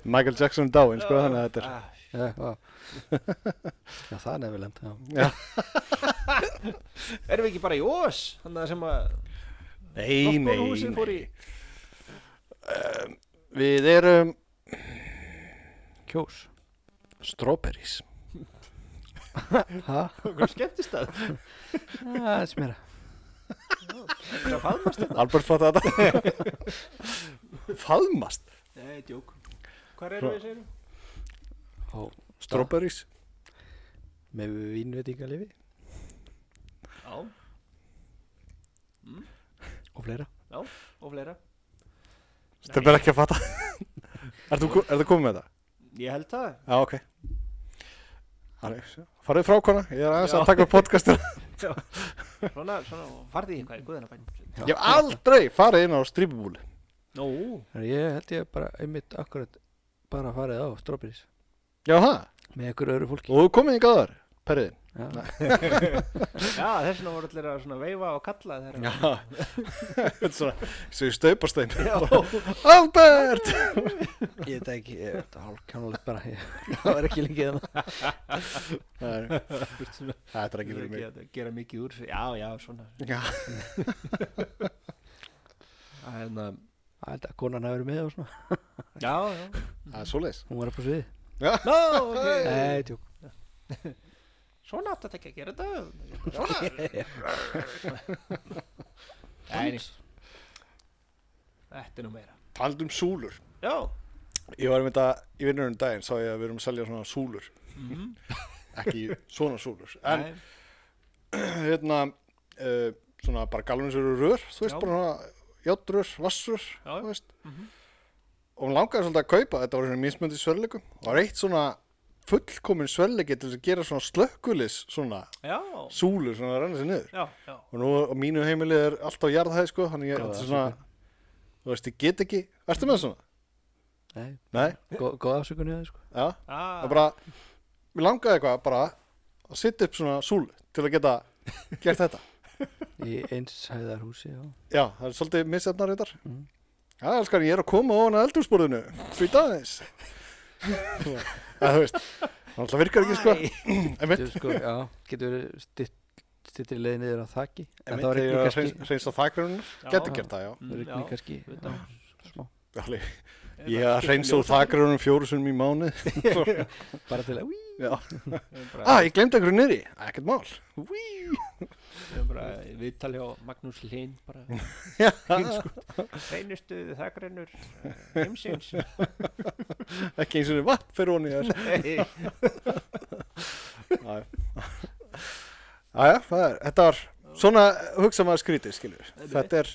Speaker 1: Michael Jackson er dáinn sko, þannig að þetta er
Speaker 2: Ah,
Speaker 3: Já, já. já það er Neverland já.
Speaker 2: Erum við ekki bara í ós? Þannig að sem að
Speaker 1: nei, nei,
Speaker 2: Loftbóluhúsin fór
Speaker 1: nei.
Speaker 2: í *laughs*
Speaker 1: við erum
Speaker 3: Kjós
Speaker 1: strawberries
Speaker 3: Ha?
Speaker 2: Hvað skemmtist það?
Speaker 3: Það er smera
Speaker 2: Hvað faðmast þetta?
Speaker 1: Albert fatt þetta *laughs* faðmast
Speaker 2: Nei, djók Hvar erum við segir?
Speaker 3: Ó,
Speaker 1: strawberries
Speaker 2: Ah.
Speaker 3: Með vínvetingalifi
Speaker 2: Já,
Speaker 3: og fleira
Speaker 2: já, og fleira
Speaker 1: þetta er ekki að *laughs* fatta er þú komið með þetta?
Speaker 2: Ég held það
Speaker 1: Já, ok. Alex, farið frá kona, ég er aðeins
Speaker 2: Já.
Speaker 1: að taka upp podcastur
Speaker 2: Svona, svona, og farði í eitthvað í guðina bæn
Speaker 1: Ég hef aldrei farið inn á strípubúli
Speaker 2: Nú,
Speaker 3: Þannig ég held ég bara einmitt akkurat bara farið á Strawberries
Speaker 1: Já, það,
Speaker 3: með ykkur öðru fólki
Speaker 1: og þú komið í gaðar, perriðin
Speaker 3: Já.
Speaker 2: já, þess vegna voru allir að svona veifa og kalla þeirra
Speaker 1: Já, *laughs* þetta er svona, svo ég staupast þeim
Speaker 2: *laughs* Já,
Speaker 1: Albert!
Speaker 3: Ég veit það ekki, ég veit það hálfkjánulegt bara ég, Það var ekki lengi
Speaker 2: hérna.
Speaker 3: þannig
Speaker 1: Nei,
Speaker 2: svona
Speaker 1: Þetta er ekki fyrir mig
Speaker 2: gera, gera mikið úr þessu. já, já, svona
Speaker 1: Já,
Speaker 2: Að hérna,
Speaker 3: Það held að konan hafi verið með og svona
Speaker 2: já, *laughs* já
Speaker 1: það er svoleiðis
Speaker 3: Hún var upp á sviði
Speaker 2: no, okay.
Speaker 3: Nei, tjók
Speaker 2: svona átt þetta ekki að gera þetta svona *laughs* Nei, þetta er nú meira
Speaker 1: Taldum um súlur
Speaker 2: já,
Speaker 1: Ég var einmitt að, í vinnurinn daginn sá ég að við erum að selja svona súlur Ekki svona súlur En
Speaker 2: Mhm. nei,
Speaker 1: *clears throat* hérna, uh, svona bara galvinsur og rör Þú veist,
Speaker 2: Já.
Speaker 1: bara svona játtrör, vassrör
Speaker 2: Já, já. Mhm.
Speaker 1: Þú veist Og hún langaði svolítið að kaupa, þetta var svona mismöndi sverleikum Og var eitt svona fullkomin sverleiki til þess að gera svona slökkulis svona
Speaker 2: já
Speaker 1: súlur svona að renna sér niður
Speaker 2: já, já,
Speaker 1: og nú á mínu heimili er allt á jarðhæð sko, hann ég, þetta er svona þú veist, ég get ekki, ertu með svona?
Speaker 3: Nei,
Speaker 1: Nei,
Speaker 3: gó- góð afsökun í það sko
Speaker 1: já,
Speaker 2: ah,
Speaker 1: það bara mér langaði eitthvað bara að setja upp svona súl til að geta gert *laughs* þetta
Speaker 3: Í einshæðarhúsi, já
Speaker 1: já, það er svolítið misjafnar þetta mm.
Speaker 3: Mhm.
Speaker 1: já, elskan, ég er að koma ofan að eldursporðinu fyrir aðeins *laughs* Já, það þú veist, það alltaf virkar ekki sko
Speaker 2: Æ.
Speaker 1: einmitt,
Speaker 3: Þú sko, já, getur verið stytt- styttri leið niður á þaki En
Speaker 1: einmitt
Speaker 3: það var
Speaker 1: þegar ég
Speaker 3: einnig
Speaker 1: er að
Speaker 3: kannski
Speaker 1: hreins- hreinsa þakgrunar,
Speaker 2: Já.
Speaker 1: getur gert það, já
Speaker 2: Mm,
Speaker 3: Það er
Speaker 2: já,
Speaker 3: einnig kannski
Speaker 2: utan.
Speaker 3: já, smá.
Speaker 1: Alveg. ég er að hreinsa úr þakgrunum fjóru sunnum í mánu
Speaker 3: Bara til að Úí,
Speaker 1: já
Speaker 2: Við erum bara-
Speaker 1: Ah, ég glemdi einhverju niðri. Ekkert mál.
Speaker 2: við erum bara í viðtali á Magnús Lind bara
Speaker 1: *laughs* Já.
Speaker 2: hreinustu þakrinnur
Speaker 1: *laughs*
Speaker 2: heimsins
Speaker 1: *laughs* Ekki eins og niður vatn fyrir honi *laughs* þér. Æja, það er, þetta var svona hugsa maður skrítið, skilur. Þetta er,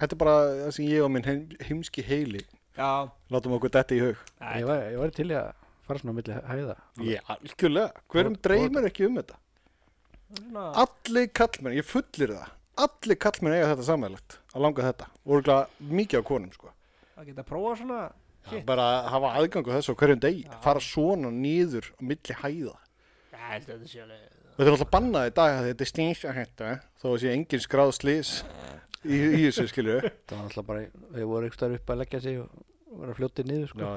Speaker 1: þetta er bara það sem ég og minn heim, heimski heili
Speaker 2: já,
Speaker 1: látum okkur þetta í hug.
Speaker 3: ég var, ég var til í að fara svona á milli hæða
Speaker 1: Ég, algjörlega. Hverjum
Speaker 3: Og-
Speaker 1: dreymir ekki um þetta?
Speaker 2: svona
Speaker 1: Allir kallmenn, ég fullir það. Allir kallmenn eiga þetta samæðilegt að langa þetta. Og örgulega mikið á konum, sko.
Speaker 2: að geta prófa svona
Speaker 1: Já, bara að hafa aðgangu þessu á hverjum degi. Fara svona niður á milli hæða.
Speaker 2: ég held að þetta sé alveg
Speaker 1: Þetta er alltaf bannað í dag að þetta er stínsahætta þó að sé engin skráð slís í, í þessu skilju Já,
Speaker 3: Það var alltaf bara, við vorum einhver starf upp að leggja sig og og vera fljótið niður sko
Speaker 1: já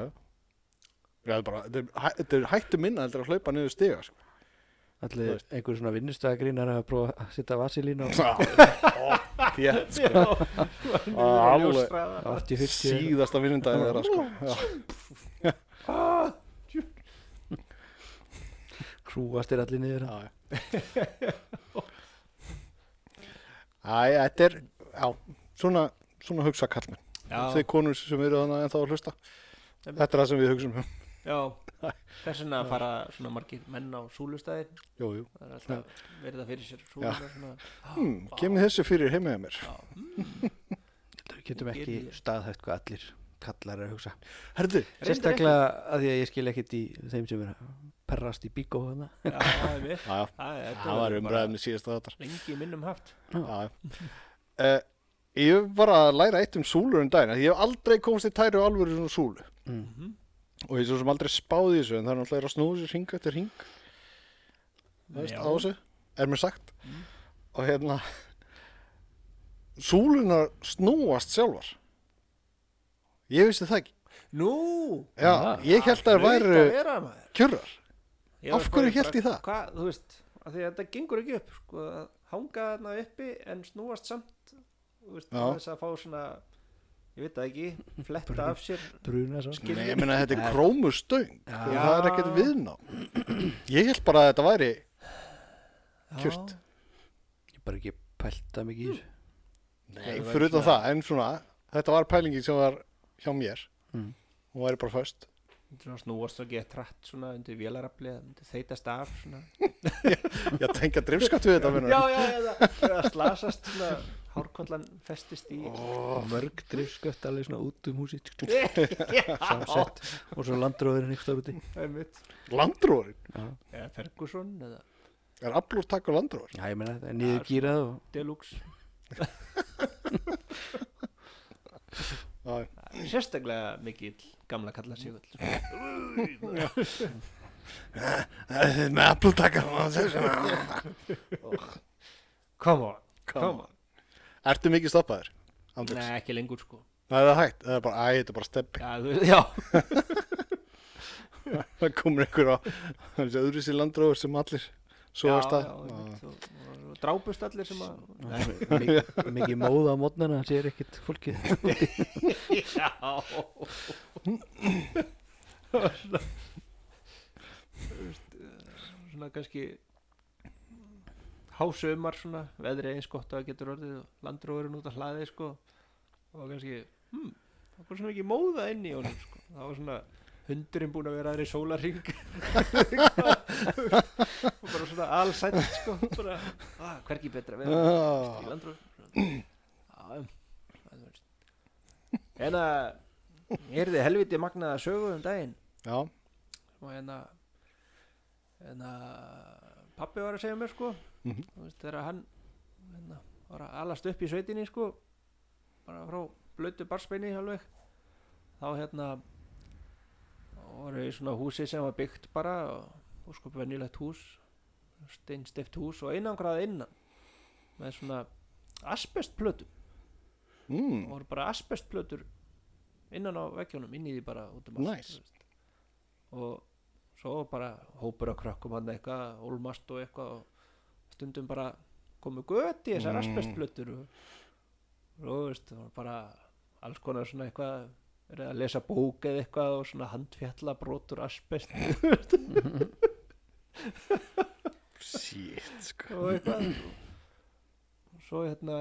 Speaker 1: Það er bara, þetta er, hæ- þetta er hættu minna heldur að hlaupa niður stiga sko.
Speaker 3: Allir einhver svona vinnustæðagrínar að prófa að setja vasilín á
Speaker 1: Þétt, *laughs* sko. Alveg.
Speaker 2: ljóstraða
Speaker 3: 80-40
Speaker 1: Síðasta vinnundaginn þeirra sko. Já. Ah!
Speaker 3: krúastir allir niður
Speaker 1: Já, já. Æ, þetta er já, svona, svona hugsa kallmenn
Speaker 2: já,
Speaker 1: Þið konur sem eru þannig en þá að hlusta Þetta er það sem við hugsum um
Speaker 2: já þess vegna fara svona margir menn á súlustæði
Speaker 1: Jú, jú
Speaker 2: það er alltaf verið það fyrir sér súluna svona
Speaker 1: *laughs* hmm, Kemið þessi fyrir heima hjá mér
Speaker 2: já,
Speaker 3: Við getum ekki
Speaker 2: Gerðu.
Speaker 3: staðhæft hvað allir kallar er að hugsa
Speaker 1: Herðu,
Speaker 3: Sérstaklega að því að ég skil ekkit í þeim sem er að perrast í bíkó hana
Speaker 2: já, það er mér
Speaker 1: já, já, það var umræðum í síðasta þáttar
Speaker 2: lengi í minnum haft
Speaker 1: Já. Uh, ég var að læra eitt um súlur um daginn af því ég hef aldrei komst í tæru alvöru svona súlu
Speaker 3: Mhm.
Speaker 1: og ég er svo sem aldrei spáði þessu en það er náttúrulega að snúðu sér hring eftir hring Þú veist,
Speaker 2: Já.
Speaker 1: á þessu, er mér sagt og hérna súlunar snúast sjálfar ég vissi það ekki
Speaker 2: nú
Speaker 1: Já,
Speaker 3: Ah.
Speaker 1: ég held að það væru kjurrar
Speaker 2: Ég
Speaker 1: Af
Speaker 2: var
Speaker 1: hverju
Speaker 2: bara-
Speaker 1: hélt ég það?
Speaker 2: Hvað, þú veist, af því að þetta gengur ekki upp sko, að hanga þarna uppi en snúast samt þú veist,
Speaker 1: Já.
Speaker 2: til þess að fá svona ég veit það ekki, fletta af sér
Speaker 3: bruna svo
Speaker 2: Skil-
Speaker 1: Nei, ég meina þetta er krómustöng og
Speaker 2: Já.
Speaker 1: það er ekkert viðná ég held bara að þetta væri Kjurt.
Speaker 2: Já,
Speaker 3: Ég bara ekki pælta mikið í þessu
Speaker 1: Nei,
Speaker 2: Það
Speaker 1: fyrir
Speaker 2: væri
Speaker 1: utan það, en svona þetta var pælingin sem var hjá mér
Speaker 3: Mm.
Speaker 1: hún væri bara föst
Speaker 2: svona snúast og geta trætt svona undir vélarafli eða undir þeitast af svona.
Speaker 1: ég tengja drifskatt við þetta
Speaker 2: Já,
Speaker 1: meinar.
Speaker 2: já, já, það slasast svona hárkollan festist í *laughs*
Speaker 3: mörg drifskött alveg svona út um húsi
Speaker 2: samsett Oh.
Speaker 3: samsett og svo landróðurinn ykkur stór úti
Speaker 1: Landróðurinn?
Speaker 2: eða Ferguson eða
Speaker 1: Er aflur takk á landróður?
Speaker 3: já ég meina þetta er niður gírað og
Speaker 2: Deluxe
Speaker 1: Já,
Speaker 2: sérstaklega mikill gamla kalla sigull
Speaker 1: já. með aflur takk á landróður
Speaker 2: come on, come on.
Speaker 1: Ertu mikið stoppaður? Andrés?
Speaker 2: Nei, ekki lengur sko
Speaker 1: Nei, það er hægt, það er bara, æ, þetta er bara steppi *laughs*
Speaker 2: já, þú, já.
Speaker 1: Það komur einhver á þessi öðru sér landróður sem allir svo
Speaker 2: já,
Speaker 1: að stað Já.
Speaker 2: já, einmitt, og- og- og drápust allir sem að
Speaker 3: Mik- mikið móða á mótnana hann sér ekkit fólkið
Speaker 2: já Svona- Þú veist, eh, svona kannski hásumar svona veðri eins gott að það getur orðið og landróðurinn út að hlaði sko og var kannski hmm, það var svona ekki móða inn í honum sko. það var svona hundurinn búin að vera aðri sólarring *laughs* og bara svona allsætt sko bara, ah, hvergi betra að vera í
Speaker 1: Já.
Speaker 2: landrúi en að ég er þið helviti Hérna, magnaða sögu um daginn
Speaker 1: Já,
Speaker 2: og hérna, en að en að pappi var að segja mér sko
Speaker 1: Mhm.
Speaker 2: þú veist, þegar hann hérna, var að alast upp í sveitinni sko bara frá blötu barspeini alveg þá hérna þá voru í svona húsi sem var byggt bara og sko venjulegt hús steinstift hús og einangrað innan með svona asbestplötu
Speaker 1: mm.
Speaker 2: og voru bara asbestplötur innan á veggjónum, inn í því bara út um allt,
Speaker 1: Nice.
Speaker 2: þú veist. og svo bara hópur af krökkum hann eitthvað, ólmast og eitthvað og stundum bara komu gött í þessar
Speaker 1: Mm.
Speaker 2: asbestplötur og og þú veist, það var bara alls konar svona eitthvað verið að lesa bók eða eitthvað og svona handfjalla brotur asbest *laughs*
Speaker 1: Shit, sko
Speaker 2: og eitthvað og svo hérna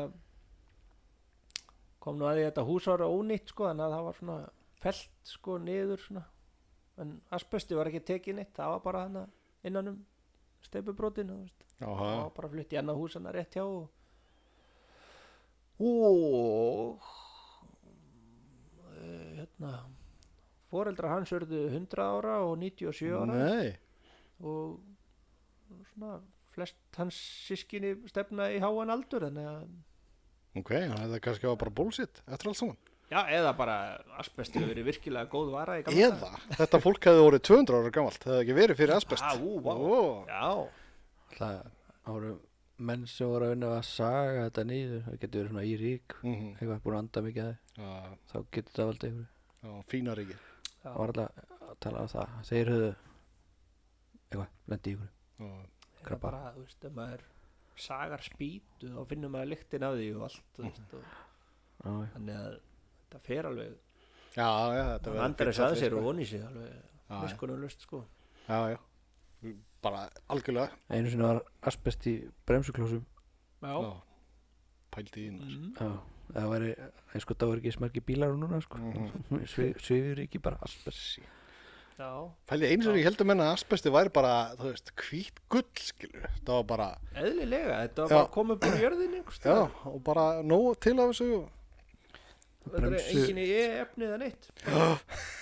Speaker 2: kom nú að því að þetta hús var ónýtt sko þannig að það var svona felt sko niður svona en asbesti var ekki tekið nýtt það var bara hana innan um steipubrótinu
Speaker 1: Áha,
Speaker 2: það var bara flutt í annað hús hana rétt hjá og og eh, hérna foreldrar hans urðu 100 ára og 97 ára
Speaker 1: nei
Speaker 2: og svona flest hans sískinni stefna í háan aldur þannig að
Speaker 1: Ok, þannig að það kannski var bara bullshit eftir allt saman
Speaker 2: já, eða bara asbest hefur verið virkilega góð vara í gamla
Speaker 1: Eða, þetta fólk hefði orðið 200 ára gamalt það hefði ekki verið fyrir asbest
Speaker 2: Ah, ú, vá.
Speaker 1: Ó,
Speaker 2: já,
Speaker 3: það voru menn sem voru að vinna að saga þetta niður það getur verið svona í rík
Speaker 1: mhm,
Speaker 3: eitthvað búin að anda mikið að því
Speaker 1: já,
Speaker 3: þá getur þetta valdið ykkur
Speaker 1: já, Fína ríki
Speaker 3: það var alltaf að tala á það þeir höfðu eitthvað, lendi ykkur
Speaker 1: Já,
Speaker 2: eða
Speaker 3: Krabba.
Speaker 2: bara, þú veist, ef maður sagar spýtu þá finnur maður lyktin af því og allt, þú veist, og
Speaker 3: Já,
Speaker 2: þannig að þetta fer alveg
Speaker 1: já, já, þetta verður
Speaker 2: Andres
Speaker 1: fínn
Speaker 2: að
Speaker 1: allir,
Speaker 2: sér
Speaker 1: sko.
Speaker 2: og voni sig alveg
Speaker 1: Já, já.
Speaker 2: miskunnulust sko
Speaker 1: Já, já, bara algjörlega
Speaker 3: einu sinni var asbest í bremsuklósum
Speaker 2: já,
Speaker 1: Já. Pældi í þín
Speaker 2: Mhm.
Speaker 3: Já, það væri, það sko, það voru ekki smargi bílar núna, sko, Svi- svifur ekki bara asbest
Speaker 2: já.
Speaker 1: Pældi eins og ég heldur menna að asbesti væri bara, þú veist, hvít gull, skilur Það var bara,
Speaker 2: eðlilega, þetta var
Speaker 1: Já.
Speaker 2: bara komið bara í jörðinni einhvers
Speaker 1: já,
Speaker 2: staðar.
Speaker 1: og bara nóg til af þessu og-
Speaker 2: þetta er
Speaker 3: Bremsu-
Speaker 2: engin í efnið eða neitt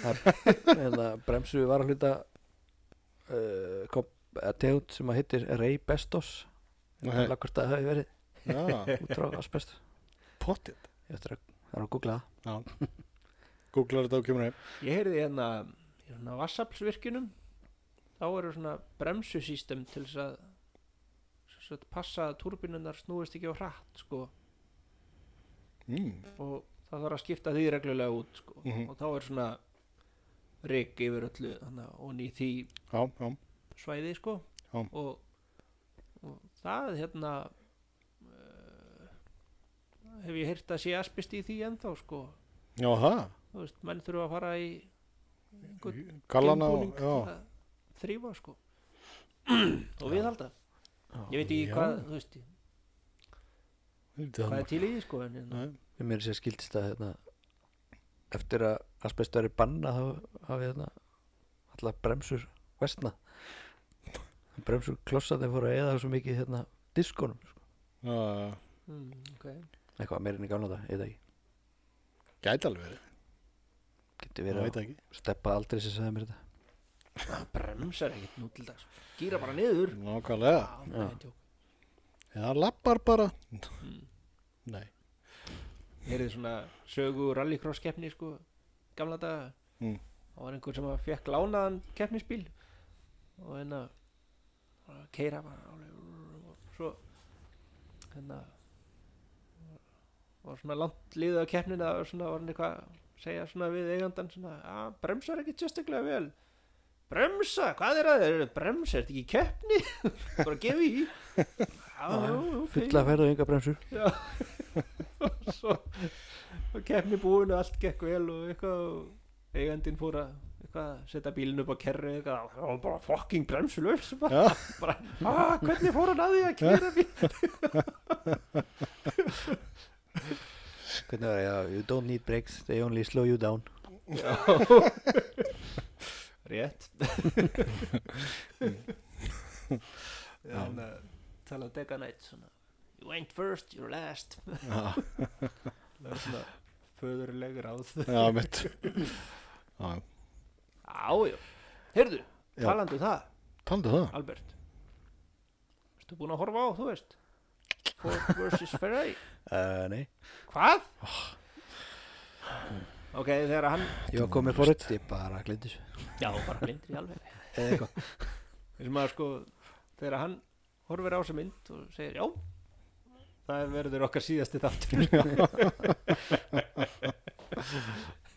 Speaker 3: en það bremsu var að hluta uh, kom, að tegund sem að hittir Ray Bestos
Speaker 1: Nei.
Speaker 3: lakvort að það hafi verið
Speaker 2: *laughs*
Speaker 1: Já,
Speaker 3: út frá asbest
Speaker 1: pottit
Speaker 3: ég ætla að, það er að googla það
Speaker 1: Já Googlar þetta og kemur heim
Speaker 2: Ég heyrði hérna í svona vassaflsvirkjunum þá eru svona bremsusýstem til þess að, þess að passa að túrbínunar snúist ekki á hratt sko
Speaker 1: mm.
Speaker 2: og það þarf að skipta því reglulega út sko
Speaker 1: Mhm.
Speaker 2: og þá er svona rik yfir öllu þannig, og ný því
Speaker 1: Já, já,
Speaker 2: svæði sko
Speaker 1: Já.
Speaker 2: og, og það hérna uh, hef ég heyrt að sé aspist í því ennþá sko
Speaker 1: já, það
Speaker 2: þú veist, menn þurfa að fara í einhvern
Speaker 1: Kallana
Speaker 2: Geimbúning
Speaker 1: og,
Speaker 2: til
Speaker 1: já,
Speaker 2: að þrýfa
Speaker 1: *clears throat*
Speaker 2: sko og við halda
Speaker 3: Já.
Speaker 2: ég veit ekki
Speaker 1: Já.
Speaker 2: hvað, þú veist,
Speaker 1: Þetta
Speaker 2: hvað
Speaker 1: er
Speaker 2: er til í því sko en, en,
Speaker 1: Nei.
Speaker 3: við mér sér skildist að hérna, eftir að asbest verið banna þá hafi hérna, allar bremsur vestna bremsur klossa þeir fóru að eða svo mikið hérna, diskonum sko.
Speaker 1: Já, já,
Speaker 2: mm, okay.
Speaker 3: eitthvað meira enn í gamla þetta, ég veit það ekki
Speaker 1: Gæti alveg verið,
Speaker 3: getur
Speaker 1: ég
Speaker 3: verið
Speaker 1: veit
Speaker 3: að
Speaker 1: það ekki
Speaker 3: steppa aldrei sem sagði mér þetta
Speaker 2: það bremsar ekkert nú til dags gýra bara niður
Speaker 1: Nákvæmlega,
Speaker 2: Já, það er djók.
Speaker 1: eða lappar bara Mm. Nei
Speaker 2: heyrið svona sögu rallycross keppni sko, gamla daga
Speaker 1: Mm.
Speaker 2: og var einhver sem að fekk lánaðan keppnisbíl og hérna að keira bara alveg og svo hérna var svona langt liðið á keppnina og svona var hann eitthvað að segja svona við eigandan svona að bremsar ekkert sérstaklega vel bremsa, hvað er að þér bremsa, er þetta ekki keppni *laughs* bara gefi í já, ok.
Speaker 3: fulla ferð og ynga bremsur
Speaker 2: og *laughs* svo og keppni búin og allt gekk vel og eitthvað og eigandinn fór að eitthvað, að setja bílinn upp á kerru eitthvað, og hann var bara fucking bremsulös *laughs* bara,
Speaker 1: Já,
Speaker 2: bara ah, hvernig fór hann að því að kera bíl
Speaker 3: hvernig var það, you don't need brakes they only slow you down
Speaker 2: *laughs* rétt já, hann eh, talaði Deca Knight svona you went first, you're last
Speaker 1: já,
Speaker 2: Það var svona föðurleg ráð
Speaker 1: já mitt Já,
Speaker 2: ájó, heyrðu,
Speaker 1: Já.
Speaker 2: talandi um það
Speaker 1: taldu það
Speaker 2: Albert Ertu búin að horfa á, þú veist Ford vs. Ferrari
Speaker 3: uh, nei,
Speaker 2: Hvað? Ok, þegar hann
Speaker 3: ég var komið fórut ég bara glindis
Speaker 2: Já, bara blindir í alveg
Speaker 3: eða eitthvað,
Speaker 2: Þessum að sko, þegar hann horfir á þessa mynd og segir já Það verður okkar síðasti þáttur *laughs* Já,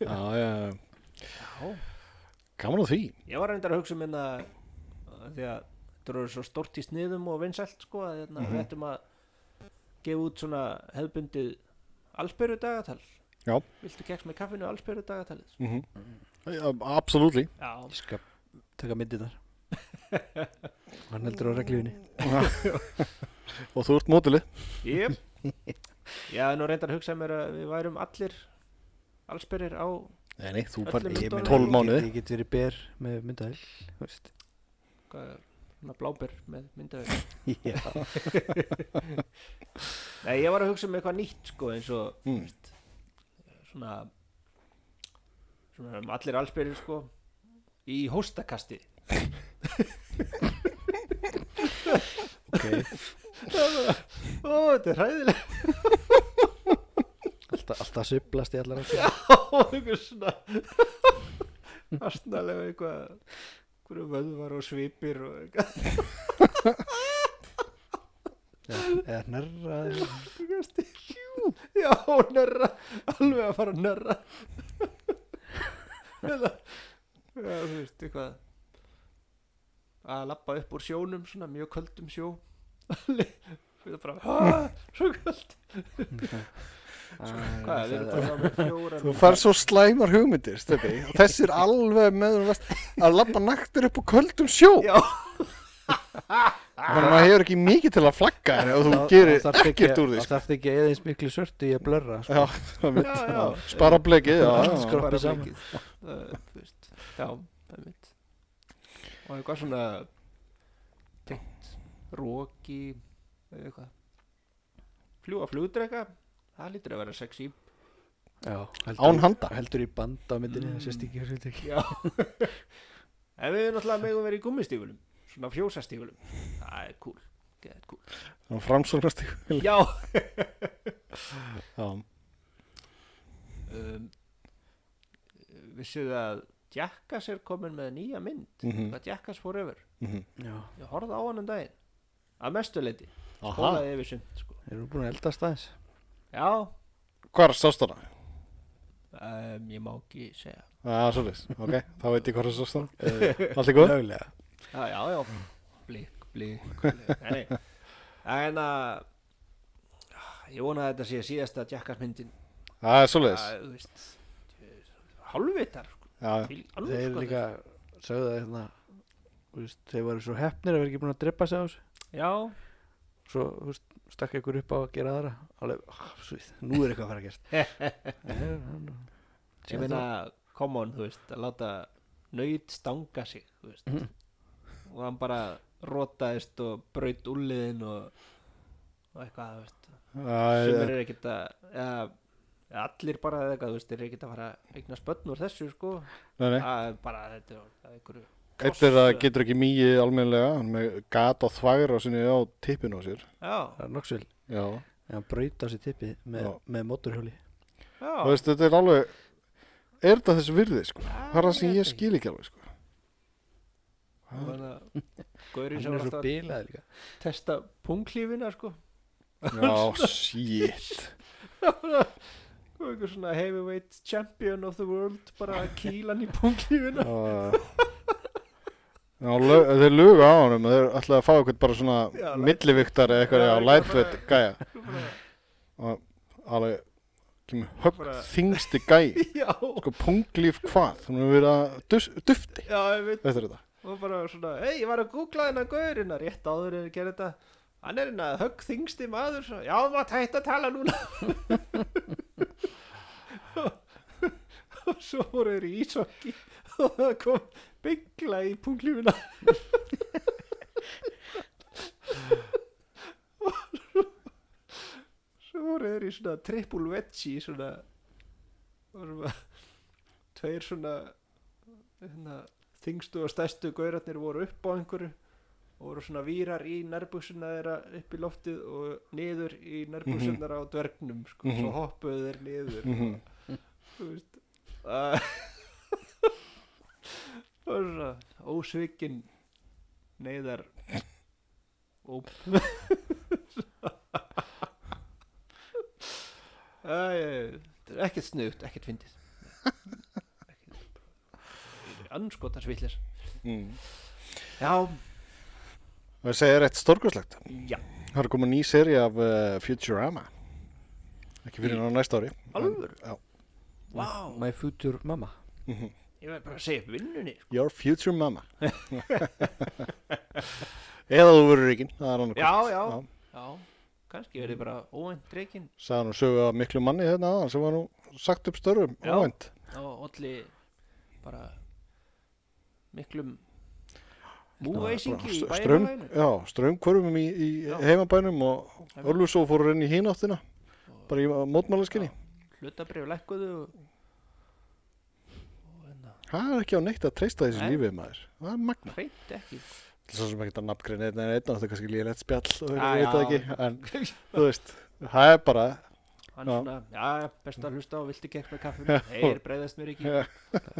Speaker 1: Já, já, já. gaman á því
Speaker 2: ég var reyndar að hugsa um minna því að þetta eru svo stórt í sniðum og vinsælt sko að hérna, við ættum að gefa út svona hefðbundið allsbyrju dagatal
Speaker 1: Já.
Speaker 2: Viltu keks með kaffinu allsbyrju dagatalið?
Speaker 1: mm Absolutely
Speaker 2: Já,
Speaker 3: ég skal taka myndir *laughs* þar hann heldur á reglifinni
Speaker 1: Og þú ert mótili
Speaker 2: Jep *laughs* Ég hafði nú reyndar að hugsa mér að við værum allir allsberir á
Speaker 1: Nei, nei, þú
Speaker 2: Öllum
Speaker 1: fær
Speaker 2: Ég meina,
Speaker 1: 12 mánuði
Speaker 3: ég get verið ber með myndaðil *laughs*
Speaker 2: hvað, svona bláber með myndaður
Speaker 3: já,
Speaker 2: Nei, ég var að hugsa um eitthvað nýtt sko eins og
Speaker 1: Mm.
Speaker 2: svona svona um allir allsberir sko í hóstakasti
Speaker 3: ok
Speaker 2: *laughs* Ó, þetta er hræðilega *laughs*
Speaker 3: alltaf, alltaf sublast í allar áttir
Speaker 2: eitthvað svona *laughs* astnalega eitthvað hverju vöðvar og svipir og eitthvað
Speaker 3: Já, eða hnerra eða-
Speaker 2: hóstakasti Já, nörra, alveg að fara að *laughs* nörra Eða Já, þú veist, eitthvað að lappa upp úr sjónum svona mjög köldum sjó Við það bara, hæ, svo köld Sko, Hvað, við erum
Speaker 3: Æ,
Speaker 2: bara með fjórar
Speaker 1: Þú fær svo slæmar hugmyndir,
Speaker 2: *laughs*
Speaker 1: stefni Þessi er alveg með um vest Að labba naktir upp á köldum sjó
Speaker 2: Já,
Speaker 1: Þannig að maður hefur ekki mikið til að flagga henni Og þú
Speaker 3: þá-
Speaker 1: gerir
Speaker 3: þá þarftu
Speaker 1: ekkert
Speaker 3: ekki-
Speaker 1: úr því sko.
Speaker 3: þá þarf ekki eða eins miklu sörtu í að blörra sko.
Speaker 1: Já, það er mitt.
Speaker 2: já, já
Speaker 1: Spara blekið, já,
Speaker 3: Allt
Speaker 1: já.
Speaker 3: skroppið
Speaker 2: bara
Speaker 3: saman.
Speaker 2: mikið. Það, þú veist, Já, það er mitt Og eitthvað svona tengt Róki eitthvað Fljúga flugdreka Það lítur að vera sexy
Speaker 3: Já, heldur
Speaker 1: Án
Speaker 3: í-
Speaker 1: handa.
Speaker 3: heldur í band á myndinni það sést ekki, sést ekki.
Speaker 2: Já En við erum náttúrulega megum verið í gummistífulum Svona fjósastífulum Það er cool, get cool
Speaker 1: Það er framsóknast
Speaker 2: Já
Speaker 1: Já,
Speaker 2: um, Vissið að Jackass er komin með nýja mynd
Speaker 1: Mhm.
Speaker 2: Hvað Jackass fór yfir
Speaker 1: mhm.
Speaker 3: Já,
Speaker 2: Ég horfði á hann um daginn Að mestu leiti
Speaker 1: Aha.
Speaker 2: Hólaði yfir sund sko.
Speaker 3: erum við búin að eldast aðeins
Speaker 2: Já
Speaker 1: Hvar sást hana?
Speaker 2: um, Ég má ekki segja
Speaker 1: Já, svolítið, ok, þá veit ég hvar það *laughs* sást hana Allt í góð?
Speaker 3: Löglega
Speaker 2: Já, já, já Blik, blik, blik Nei, nei. En að Ég vona að þetta sé síðasta Jackass myndin
Speaker 1: Það er svolítið,
Speaker 2: Að, Þú veist Hálfvitar sko.
Speaker 1: já, já.
Speaker 2: Til
Speaker 3: Þeir
Speaker 2: alveg
Speaker 3: líka sögðu að hérna, þú veist, þeir voru svo hefnir að vera ekki búin að drepa sig á þessu
Speaker 2: Já,
Speaker 3: Svo þú veist, stakk ykkur upp á að gera aðra Alveg, ah, svið, nú er eitthvað að fara
Speaker 2: *laughs*
Speaker 3: að gerast
Speaker 2: ég meina Come on, þú veist Að láta nöyt stanga sig Þú veist
Speaker 3: Mhm.
Speaker 2: Og hann bara rótaðist og braut úliðin og og eitthvað, þú veist
Speaker 1: Það
Speaker 2: sem
Speaker 1: er-
Speaker 2: er ekkert að eða, eða allir bara eða eitthvað, þú veist, er ekkert að fara að eigna spönn úr þessu, sko
Speaker 1: Nei, nei.
Speaker 2: það er bara, þetta er- það er einhverju
Speaker 1: Eitt er að getur ekki mýið almennilega, hann er með gat á þvægra sinni á tippinu á sér.
Speaker 2: já,
Speaker 3: það er nokksvel
Speaker 1: Já.
Speaker 3: en hann braut á sér tippið með,
Speaker 1: Já.
Speaker 3: með mótorhjóli
Speaker 2: já,
Speaker 1: Þú veist, þetta er alveg, er þetta þessi virði, sko? Það er það sem
Speaker 2: ég
Speaker 1: ég
Speaker 2: veit
Speaker 1: skil ekki alveg, sko.
Speaker 2: þannig að gaurið
Speaker 3: hann
Speaker 2: sem var
Speaker 3: er svo
Speaker 2: alltaf
Speaker 3: bilað líka
Speaker 2: að testa punglífina, sko
Speaker 1: Já, shit.
Speaker 2: og einhver svona heavyweight champion of the world bara að kýla hann í punglífina
Speaker 1: Já, Já, lög, þeir luga á honum, þeir ætlaði að fá eitthvað bara
Speaker 2: Já,
Speaker 1: svona
Speaker 2: light-
Speaker 1: milliviktar eða eitthvað,
Speaker 2: Já,
Speaker 1: já,
Speaker 2: eitthvað
Speaker 1: lightweight gæja.
Speaker 2: bara,
Speaker 1: Og alveg, kemur högg
Speaker 2: Bara-
Speaker 1: þingsti
Speaker 2: *laughs*
Speaker 1: gæi.
Speaker 2: *laughs* já,
Speaker 1: Sko, punglíf hvað? Hún hefur verið að dus, dufti.
Speaker 2: já, ég veit
Speaker 1: Þetta er þetta.
Speaker 2: og bara svona, hei, ég var að googla hennar gaurina rétt áður en ég gerði þetta hann er hennar högg þingsti maður svo, já, maður tætt að tala núna *laughs* og svo voru þeir í ísokki og það kom byggla í punglífina *laughs* svo voru þeir í svona triple veggie svona, og svona tveir svona hérna, þingstu og stærstu gaurarnir voru upp á einhverju og voru svona vírar í nærbuxuna þeirra upp í loftið og niður í nærbuxunar á dvergnum sko,
Speaker 1: Mhm.
Speaker 2: svo hoppuðu þeir niður
Speaker 1: Mhm.
Speaker 2: þú veist *laughs* að- það er svona ósvikin neyðar óp Æ, þetta er ekkert snuðt, ekkert fyndið anskotans villir
Speaker 1: Mm.
Speaker 2: já,
Speaker 1: Það segir eitt stórkurslegt.
Speaker 2: já,
Speaker 1: Það er komið ný seri af uh, Futurama. Ekki fyrir hann á næsta ári.
Speaker 2: alvöru
Speaker 1: Já.
Speaker 2: Vá,
Speaker 3: my future mamma
Speaker 2: ég verð bara að segja upp vinnunni sko.
Speaker 1: Your Future
Speaker 2: *laughs*
Speaker 1: Mama. Eða þú verður reygin. Það er hann.
Speaker 2: já, já, já kannski verði bara óvænt reikinn
Speaker 1: Sæðan og sögu af miklu manni hérna aðan sem var nú sagt upp störfum.
Speaker 2: Já.
Speaker 1: Óvænt.
Speaker 2: og olli bara miklum múveisingi í
Speaker 1: St- Straum,
Speaker 2: bæjarlæginu
Speaker 1: já, strömmkvörfum í, í
Speaker 2: Já.
Speaker 1: heimabænum og
Speaker 2: Einmitt.
Speaker 1: Örlusó fór henni í hináttina.
Speaker 2: Og-
Speaker 1: Bara í mótmálaskinni.
Speaker 2: hlutabrif lækkuðu og, og hérna
Speaker 1: Það er ekki á neitt að treysta þessu
Speaker 2: Nei.
Speaker 1: lífið maður. Það er magna.
Speaker 2: hreint
Speaker 1: *laughs*
Speaker 2: ekki
Speaker 1: Svo sem ekki að nafngreina einn en einn og þetta er kannski líðilegt spjall og
Speaker 2: Já,
Speaker 1: ég veit það
Speaker 2: já.
Speaker 1: ekki. En þú veist, það er bara
Speaker 2: hann
Speaker 1: Já.
Speaker 2: svona, já, best að hlusta á viltu gekk með kaffinu, heyr, breyðast mér ekki
Speaker 1: Já.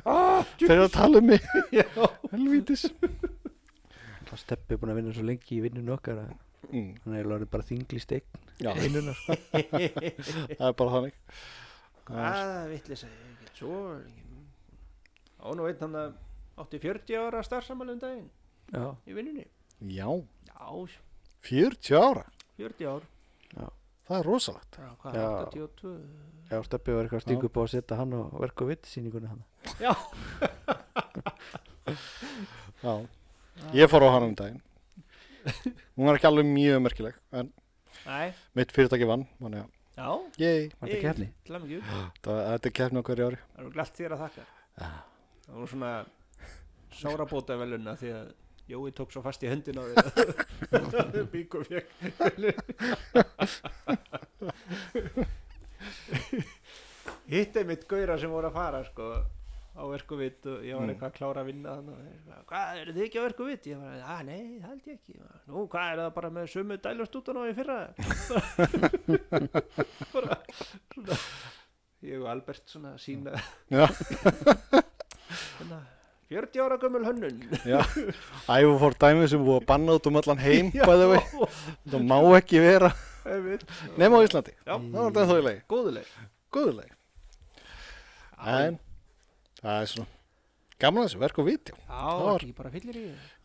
Speaker 2: ah,
Speaker 1: þeir eru að tala um mig. *laughs*
Speaker 2: já,
Speaker 1: Helvítis.
Speaker 3: það steppi búin að vinna svo lengi í vinnunni okkar að
Speaker 1: Mm.
Speaker 3: hann er alveg bara þinglist eign
Speaker 1: Já,
Speaker 3: vinnuna sko
Speaker 1: *laughs* það er bara þannig.
Speaker 2: hvað vitlis að ég get svo á nú einn hann að átti 40 ára starfsamalum daginn
Speaker 3: já,
Speaker 2: í vinnunni
Speaker 1: Já,
Speaker 2: já,
Speaker 1: 40 ára.
Speaker 2: 40 ár
Speaker 1: Það er rosalegt.
Speaker 2: bara hvað,
Speaker 3: Já.
Speaker 2: 82
Speaker 3: já steppi var eitthvað að stinga upp á að setja hann og verka vitt sýninguna hann
Speaker 2: já,
Speaker 1: Já. Ég fór á hann um daginn. Hún var ekki alveg mjög merkileg, en
Speaker 2: næ,
Speaker 1: mitt fyrirtæki vann. Þannig að,
Speaker 2: já
Speaker 1: yey,
Speaker 3: var þetta kefni
Speaker 2: til að mikið,
Speaker 1: þetta þetta er keppni á hverju ári.
Speaker 2: það eru glatt þér að þakka það voru svona sárabóta veluna því að Jói tók svo fast í höndin á því Bíko fekk Hitt er mitt gauðra sem voru að fara sko á verku vitt og ég var eitthvað að klára að vinna þannig og þeir bara, hvað eru þið ekki á verku vitt? Ég var að, nei, það held ég ekki Nú, hvað er það bara með sömu dælustútan á í fyrra? bara, svona ég og Albert svona sína
Speaker 1: Já,
Speaker 2: hérna, 40 ára gömul hönnun
Speaker 1: já. Ævo fór dæmið sem er búið að banna út um allan heim, bæði vei. Þetta má ekki vera
Speaker 2: *laughs* einmitt.
Speaker 1: nema á Íslandi.
Speaker 2: Já.
Speaker 1: Það var þetta þó í lagi.
Speaker 2: góðuleg
Speaker 1: Góðuleg. En, það er svona gaman að þessu verk og viti.
Speaker 2: já,
Speaker 1: var-
Speaker 2: ekki bara fyllir í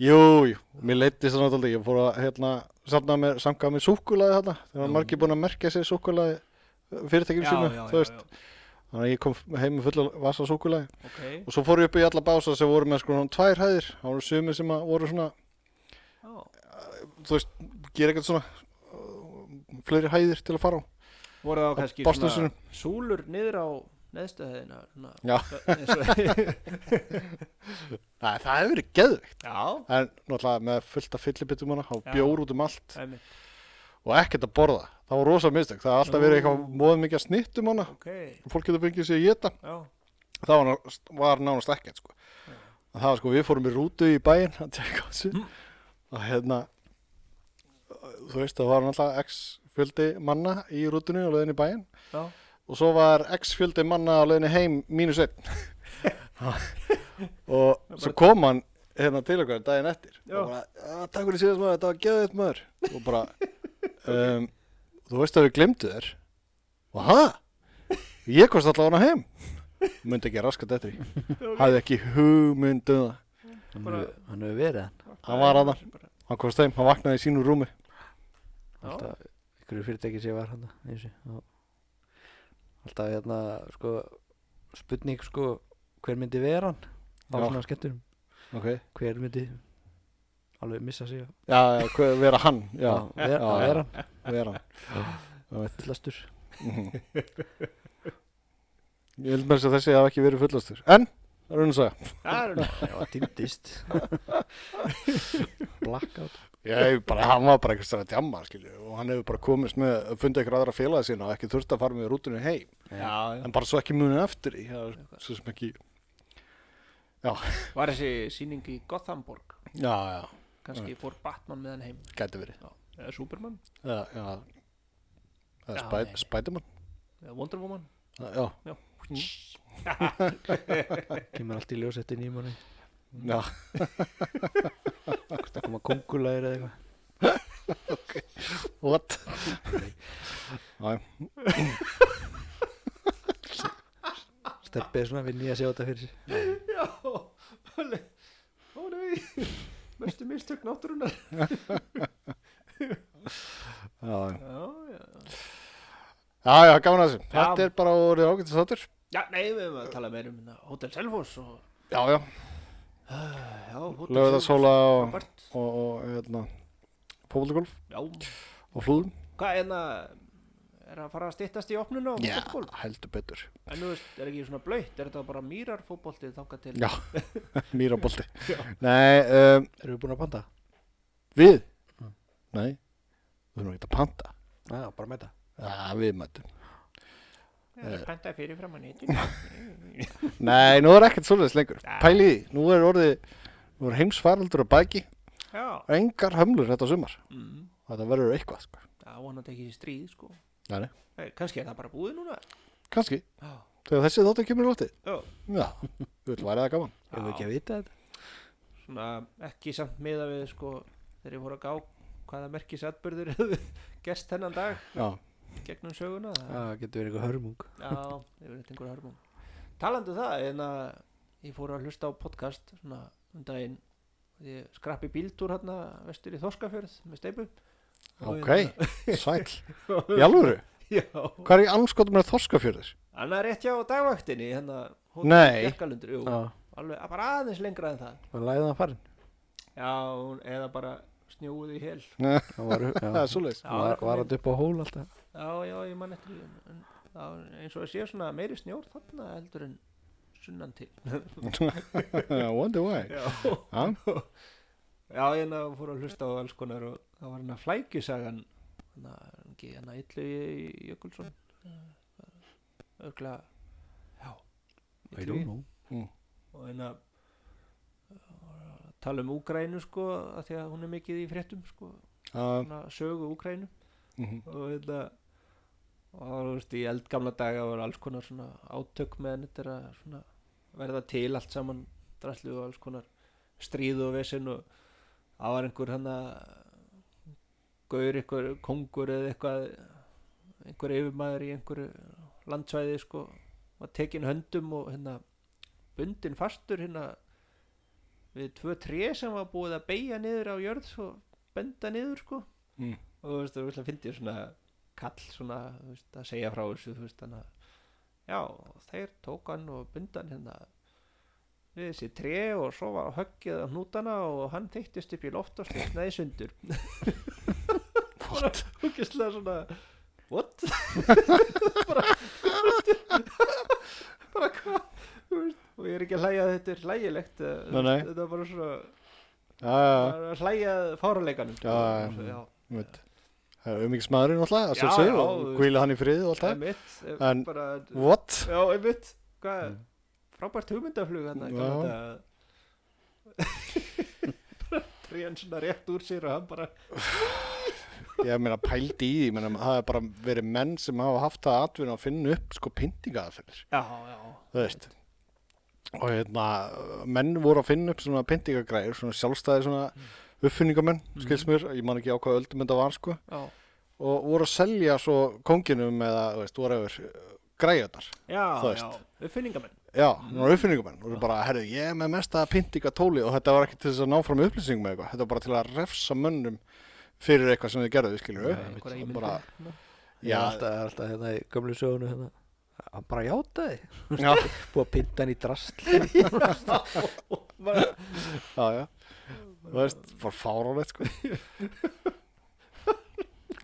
Speaker 1: Jú, jú, mér leittist það náttúrulega, ég fór að hérna, samna með, samka með súkkulaði þarna, þegar var margir búin að merkja sér súkkulaði fyrirtækjum
Speaker 2: já,
Speaker 1: sínu,
Speaker 2: já,
Speaker 1: þú
Speaker 2: já,
Speaker 1: veist, þannig að ég kom heim með fulla vasa súkkulaði
Speaker 2: já, ok
Speaker 1: og svo fór ég upp í alla bása sem voru með sko svona tvær hæðir, þá voru sumir sem að voru svona,
Speaker 2: já,
Speaker 1: þú veist, gera eitthvað svona uh, fleiri hæðir til að fara á,
Speaker 2: voru þá kannski
Speaker 1: Bostonsunum.
Speaker 2: svona súlur niður á neðstöðina svona,
Speaker 1: Já.
Speaker 2: eins og-
Speaker 1: Nei, það hefur
Speaker 2: *laughs*
Speaker 1: verið geðvikt,
Speaker 2: já,
Speaker 1: en náttúrulega með fullta fyllibittum hana, á
Speaker 2: Já.
Speaker 1: bjór út um allt
Speaker 2: einmitt
Speaker 1: og ekkert að borða það var rosa mistök, það var alltaf verið eitthvað móðum mikið að snitt um hana
Speaker 2: ok,
Speaker 1: fólk getur fengið sér í þetta
Speaker 2: já,
Speaker 1: það var, nánast- var nánast ekkert sko. það var sko, við fórum í rútu í bæinn að tjekka á sér og hérna þú veist, það var náttúrulega x fjöldi manna í rútunni og leiðin í bæinn
Speaker 2: já,
Speaker 1: og svo var x fjöldi manna á leiðinni heim mínus einn *laughs* og svo kom hann hérna til okkar daginn eftir
Speaker 2: Já.
Speaker 1: og bara, "Ah, takk fyrir síðast maður, þetta var geðið maður og bara um, þú veist að við glemdu þér og ha, ég komst allavega hana heim myndi ekki raskat eftir því hafði ekki hugmynd um það
Speaker 3: Hann
Speaker 2: Bara-
Speaker 3: hefur- hann hefur verið hann
Speaker 1: Hann var þarna. hann komst heim, hann vaknaði í sínu rúmi
Speaker 2: Já.
Speaker 3: alltaf ykkur fyrirtæki sem ég var hann alltaf hérna sko spurning sko hver myndi vera hann á
Speaker 1: Já.
Speaker 3: svona skemmtunum
Speaker 1: okay.
Speaker 3: hver myndi alveg missa sig já,
Speaker 1: já, já, hver- vera hann já, já,
Speaker 3: ver, að
Speaker 1: já.
Speaker 3: vera hann
Speaker 1: vera hann
Speaker 3: fullastur
Speaker 1: ég held með þess að þessi hafa ekki verið fullastur en, það er unn að segja
Speaker 2: það er
Speaker 3: já,
Speaker 1: *laughs*
Speaker 3: týndist blackout
Speaker 1: Ég hef bara, hann var bara eitthvað að djamma, skilju, og hann hefur bara komist með, fundið eitthvað aðra félagi sína og ekki þurft að fara með rútunni heim,
Speaker 2: já,
Speaker 1: en bara svo ekki munið eftir því, það er svo sem ekki,
Speaker 2: var þessi sýning í Gothamborg
Speaker 1: já, já,
Speaker 2: kannski fór Batman með hann heim
Speaker 1: gæti verið,
Speaker 2: já. eða Superman,
Speaker 1: já, já, eða
Speaker 2: Já, nei, nei.
Speaker 1: spæ, spætumann,
Speaker 2: eða Wonder Woman
Speaker 1: já,
Speaker 3: kemur allt í ljós eftir nýjum hann
Speaker 1: já,
Speaker 3: hvort að koma kongulægir eða eitthvað
Speaker 1: what? Já, já,
Speaker 3: steppið svona við nýja sjá þetta fyrir sér
Speaker 2: já, *laughs* ó nei mestu mistök náttúrunar
Speaker 1: já, já,
Speaker 2: já, já,
Speaker 1: já, já, gaman að þessu,
Speaker 2: Já.
Speaker 1: þetta er bara orðið ágættis þáttur,
Speaker 2: já, nei, við hefum að tala meir um hérna, Hotel Selfoss og
Speaker 1: já, já,
Speaker 2: já, Hotel
Speaker 1: lögðarsóla og,
Speaker 2: Frábært.
Speaker 1: og, og, hérna, fólkgolf
Speaker 2: já,
Speaker 1: og flúðum,
Speaker 2: hvað er hérna er að fara að styttast í opnuna og
Speaker 1: já,
Speaker 2: fótboltagólf?
Speaker 1: heldur betur, *laughs*
Speaker 2: en þú veist, er ekki svona blöytt, er þetta bara mýrar fótboltið þangað til
Speaker 1: já, *laughs* mýrabolti, nei, um,
Speaker 3: erum við búin að panta?
Speaker 1: Við? Nei, við erum ekki að panta.
Speaker 3: já, bara að mæta
Speaker 1: Já, við mættum.
Speaker 2: ég pantaði fyrir fram að nýttin
Speaker 1: Nei, nú er ekkert svoleiðis lengur.
Speaker 2: Já.
Speaker 1: Pæli í, því, nú er orðið, nú er heimsfaraldur að bæki.
Speaker 2: já,
Speaker 1: Engar hömlur þetta sumar.
Speaker 2: mm,
Speaker 1: Þetta verður eitthvað, sko.
Speaker 2: það vonandi ekki í stríð sko
Speaker 1: Nei, nei.
Speaker 2: Nei, kannski er það bara búið núna
Speaker 1: Kanski,
Speaker 2: já,
Speaker 1: þegar þessi þáttu kemur í lótið.
Speaker 2: já,
Speaker 1: Já, við vil væri það gaman.
Speaker 3: erum við ekki að vita þetta?
Speaker 2: svona ekki samt miða við sko þegar ég fór að gá hvaða merkis atbyrður *laughs* hefðu gerst þennan dag
Speaker 1: Já,
Speaker 2: gegnum söguna
Speaker 3: já,
Speaker 2: það,
Speaker 3: getur verið eitthvað hörmung
Speaker 2: já, ég verið einhver hörmum talandi um það, en að ég fór að hlusta á podcast svona um daginn ég skrappi bíltúr hérna vestur í Þorskafjörð með steipu Og
Speaker 1: ok, sæl. *laughs*
Speaker 2: hérna-
Speaker 1: Í alvöru,
Speaker 2: *laughs* já,
Speaker 1: hvað er í anskotum með þorskafjörður?
Speaker 2: annar rétt hjá dagvaktinni hérna, hótel
Speaker 1: Nei.
Speaker 2: Bjarkalundur, jú,
Speaker 3: já,
Speaker 2: alveg bara aðeins lengra en það
Speaker 3: hann læði það farin
Speaker 2: já, hún- eða bara snjúið í hel
Speaker 1: *laughs*
Speaker 3: hann var,
Speaker 1: Það
Speaker 3: já,
Speaker 1: er svoleiðis.
Speaker 2: Já,
Speaker 3: var,
Speaker 2: kom
Speaker 3: var
Speaker 2: inn.
Speaker 3: hann upp á hól alltaf
Speaker 2: Já, já, ég man eftir því en- en það er eins og að sé svona meiri snjór þarna heldur en sunnan til
Speaker 1: Wonder why.
Speaker 2: Já,
Speaker 1: Já,
Speaker 2: já ég ná fór að hlusta á alls konar og það var hann að flækjusagan hann að ekki hann að illu í Jökulsson örgla já,
Speaker 3: I
Speaker 2: Illugi.
Speaker 3: don't know
Speaker 2: og hérna, hann að tala um Úgrænu sko að því að hún er mikið í fréttum sko,
Speaker 1: já,
Speaker 2: svona sögu Úgrænu
Speaker 1: mhm,
Speaker 2: og þetta og það var, þú veist, í eldgamla daga var alls konar svona átök meðan þetta er að svona verða til allt saman draslu og alls konar stríð og vesinn og það var einhver hann að gaur einhver kongur eða eitthvað einhver yfirmaður í einhverju landsvæði sko var tekin höndum og hérna bundin fastur hérna við tvö tré sem var búið að beigja niður á jörð svo benda niður sko
Speaker 1: Mm.
Speaker 2: og þú veist þú veist að fyndi svona kall svona þú veist, að segja frá þessu þú veist þannig að já og þeir tók hann og bundan hérna við þessi tré og svo var höggið á hnútana og hann þyttist upp í loft og slitnaði
Speaker 1: *laughs*
Speaker 2: í sundur What? Húkislega svona
Speaker 1: *laughs*
Speaker 2: What? bara bara hvað þú veist, og ég er ekki að hlæja að þetta er hlægilegt eh, þú
Speaker 1: Nei,
Speaker 2: veist,
Speaker 1: nei.
Speaker 2: þetta er bara svona
Speaker 1: já, já,
Speaker 2: bara að hlæja að fáraleikanum
Speaker 1: Já, já,
Speaker 2: já,
Speaker 1: ég veit. Það er umíkismæðurinn alltaf, að
Speaker 2: Já,
Speaker 1: sjálfsögðu,
Speaker 2: já,
Speaker 1: og
Speaker 2: þú-
Speaker 1: kvíla hann í frið og alltaf.
Speaker 2: einmitt eh,
Speaker 1: En-
Speaker 2: bara,
Speaker 1: What?
Speaker 2: já, einmitt hvað, frábært hugmyndaflug hann
Speaker 1: Já.
Speaker 2: *laughs* að trén svona rétt úr sér og hann bara
Speaker 1: Ég meina pældi í því, ég meina það er bara verið menn sem hafa haft það atvinna að finna upp sko pyntingaðferðir,
Speaker 2: já, já,
Speaker 1: þú veist. Og hérna, menn voru að finna upp svona pyntingagræður, svona sjálfstæði svona
Speaker 2: Mm.
Speaker 1: uppfinningamenn, skils mér, ég man ekki á hvað öldum þetta var sko.
Speaker 2: já.
Speaker 1: Og voru að selja svo konginum eða, þú veist, voru yfir græðar.
Speaker 2: Já,
Speaker 1: Þú veist.
Speaker 2: já, uppfinningamenn
Speaker 1: Já, það voru uppfinningamenn, voru bara, herru, ég er með mesta pyntingatóli og þetta var ekki til þess að ná fram upplýsingum eða eitthvað, þetta var bara til að refsa mönnum fyrir eitthvað sem þið gerðu, skilur
Speaker 3: Nei, einmitt.
Speaker 2: einhverja
Speaker 1: bara,
Speaker 2: ímyndir svona.
Speaker 3: Já,
Speaker 1: Já.
Speaker 3: alltaf, alltaf hérna í gömlu sögunu hérna. Hann bara játaði
Speaker 1: já,
Speaker 3: *laughs* Búið að pynta hann í drast
Speaker 2: *laughs* Bara-
Speaker 1: Já, já. Þú veist, bara fáránlegt sko.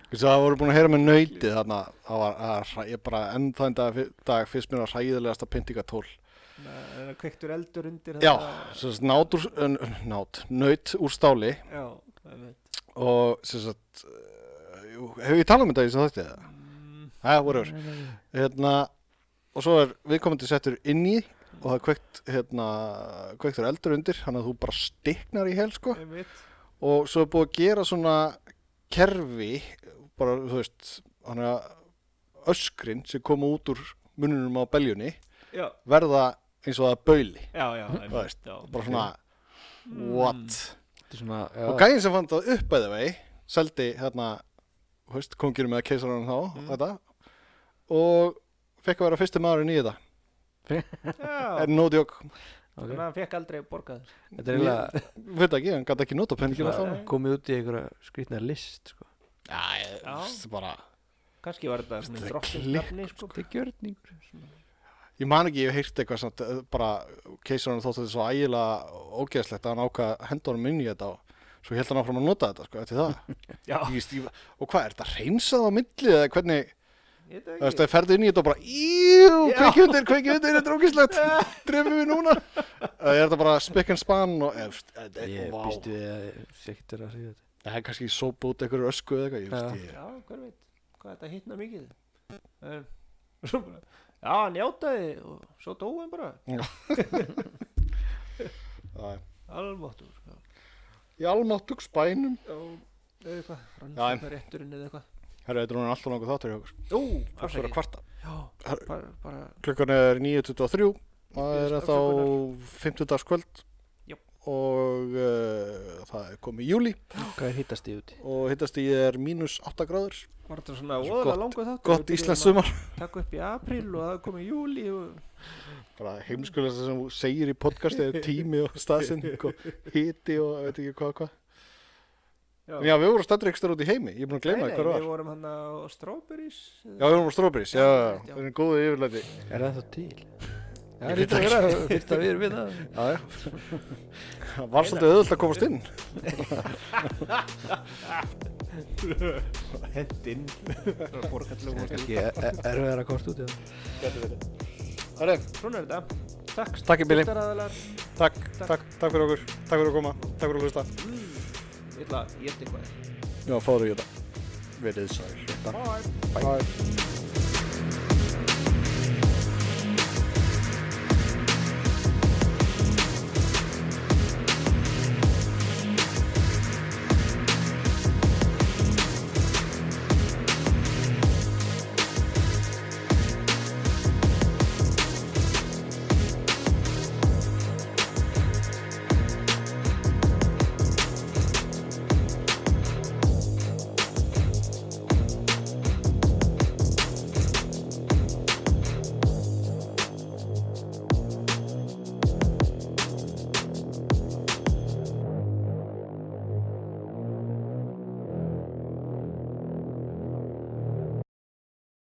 Speaker 1: Þú veist, það voru búin að heyra með nöytið þarna, það var, það var hræ- ég bara enn þann dag, dag fyrst mér að hræðilegasta pyntingatól.
Speaker 2: Það er kveiktur eldur undir
Speaker 1: Já,
Speaker 2: þetta.
Speaker 1: sem sagt, nát úr, n- nát, nöyt úr stáli
Speaker 2: Já, einmitt
Speaker 1: og sem sagt, eh, jú, hefur ég talað um þetta í sem þáttið það? Það, whatever.
Speaker 2: Mm,
Speaker 1: Hérna, og svo er viðkomandi settur inn í og það er kveikt, hérna, kveiktur eldur undir, þannig að þú bara stiknar í hel sko.
Speaker 2: Einmitt
Speaker 1: og svo er búið að gera svona kerfi bara þú veist hann að öskrin sem koma út úr mununum á beljunni
Speaker 2: Já,
Speaker 1: verða eins og það er bauli
Speaker 2: já, já,
Speaker 1: Þú
Speaker 2: einmitt
Speaker 1: veist,
Speaker 2: já.
Speaker 1: bara svona what
Speaker 3: Þetta er svona
Speaker 1: og
Speaker 3: já,
Speaker 1: gæðin sem fann það upp eða vei seldi hérna þú veist, konginum eða keisaranum þá þetta, og fekk að vera fyrsti maðurinn í þetta
Speaker 2: Já,
Speaker 1: en no joke,
Speaker 2: þannig að hann fekk aldrei borgað
Speaker 3: Þetta er eiginlega
Speaker 1: veit ekki, hann gæti ekki nota penningin alltaf
Speaker 3: svona komið út í einhverja skrýtna list sko.
Speaker 1: já, ég,
Speaker 2: Já.
Speaker 1: veist, bara
Speaker 2: Kanski var þetta svona
Speaker 1: Þetta er
Speaker 2: drottin
Speaker 1: klikk,
Speaker 2: nafni sko.
Speaker 3: Þetta er gjörningur
Speaker 1: Ég man ekki, ég hef heyrt eitthvað samt, eh, bara keisarinn þótti þetta svo ægilega ógeðslegt að hann ákvað að henda honum inn í þetta og svo held hann áfram að nota þetta, sko, eftir *laughs* það.
Speaker 2: Já,
Speaker 1: Ég veist, ég, og hvað, er þetta hreinsað á milli eða hvernig,
Speaker 2: ég veit
Speaker 1: þú
Speaker 2: það
Speaker 1: veist,
Speaker 2: ekki
Speaker 1: það ferði inn í þetta og bara, íjú,
Speaker 2: Já.
Speaker 1: kveikjöndir, kveikjöndir, þetta er *laughs* ógeðslegt, drefum við núna. Eða er þetta bara spikk and span og, efst, þetta er,
Speaker 3: Ég
Speaker 1: vá,
Speaker 3: býst við að sekt er að segja þetta
Speaker 1: það er kannski sóp út einhverju ösku eða eitthvað, ég veist, ég,
Speaker 3: Já.
Speaker 2: Já, hver veit, hvað þetta hittna mikið En *laughs* svo bara Já, hann játaði og svo dói hann bara
Speaker 1: það er,
Speaker 2: Almáttur Já,
Speaker 1: í almáttug spænum.
Speaker 2: já eða eitthvað,
Speaker 1: Já.
Speaker 2: rannsóknarétturinn eða eitthvað
Speaker 1: Herra, þetta er núna alltaf langur þáttur hjá okkur,
Speaker 2: Jú,
Speaker 1: fólk er að
Speaker 2: afsakið
Speaker 1: kvarta.
Speaker 2: Já,
Speaker 1: Herra-
Speaker 2: bara, bara
Speaker 1: Klukkan er 9.23 Það er
Speaker 2: Biðst
Speaker 1: þá
Speaker 2: afsökunar.
Speaker 1: 50 dagskvöld
Speaker 2: Jöp.
Speaker 1: og uh, það er komið júli
Speaker 3: Hvað er hittast í úti?
Speaker 1: og hittast í er mínus 8 gráður
Speaker 2: Var þetta svona
Speaker 1: Svo
Speaker 2: óðalega
Speaker 1: gott-
Speaker 2: langur þáttur
Speaker 1: gott
Speaker 2: við
Speaker 1: Íslands
Speaker 2: byrjuðum
Speaker 1: sumar
Speaker 2: að Takk upp í apríl og það komið júli og...
Speaker 1: bara heimskulega sem þú segir í podcasti er tími og staðsending og hiti og ég veit ekki hvað hvað
Speaker 2: Já,
Speaker 1: En já, við vorum stættur ekstra út í heimi, ég er búin að gleyma
Speaker 2: Nei,
Speaker 1: hvað það
Speaker 2: nei,
Speaker 1: var
Speaker 2: Við vorum hann á Strawberries
Speaker 1: Já, við vorum á Strawberries, já, já, já,
Speaker 2: Já.
Speaker 1: við erum góðið yfirleiti
Speaker 3: Er það þá til? Já,
Speaker 1: Ég veit
Speaker 3: þetta er að fyrta við erum við það
Speaker 1: Já, já Það var svolítið auðvitað að komast inn
Speaker 2: Hendinn Borgallum og
Speaker 3: Kanski er við að komast út í það
Speaker 1: Það er,
Speaker 2: Svona er þetta Takk,
Speaker 1: Takk, Billy.
Speaker 2: styrktaraðilar.
Speaker 1: takk, takk, takk fyrir okkur Takk fyrir að koma, takk fyrir að hlusta
Speaker 2: Ég ætla að geta eitthvað
Speaker 1: Já, fóru í þetta Verið sæl
Speaker 2: Bye
Speaker 1: Bye.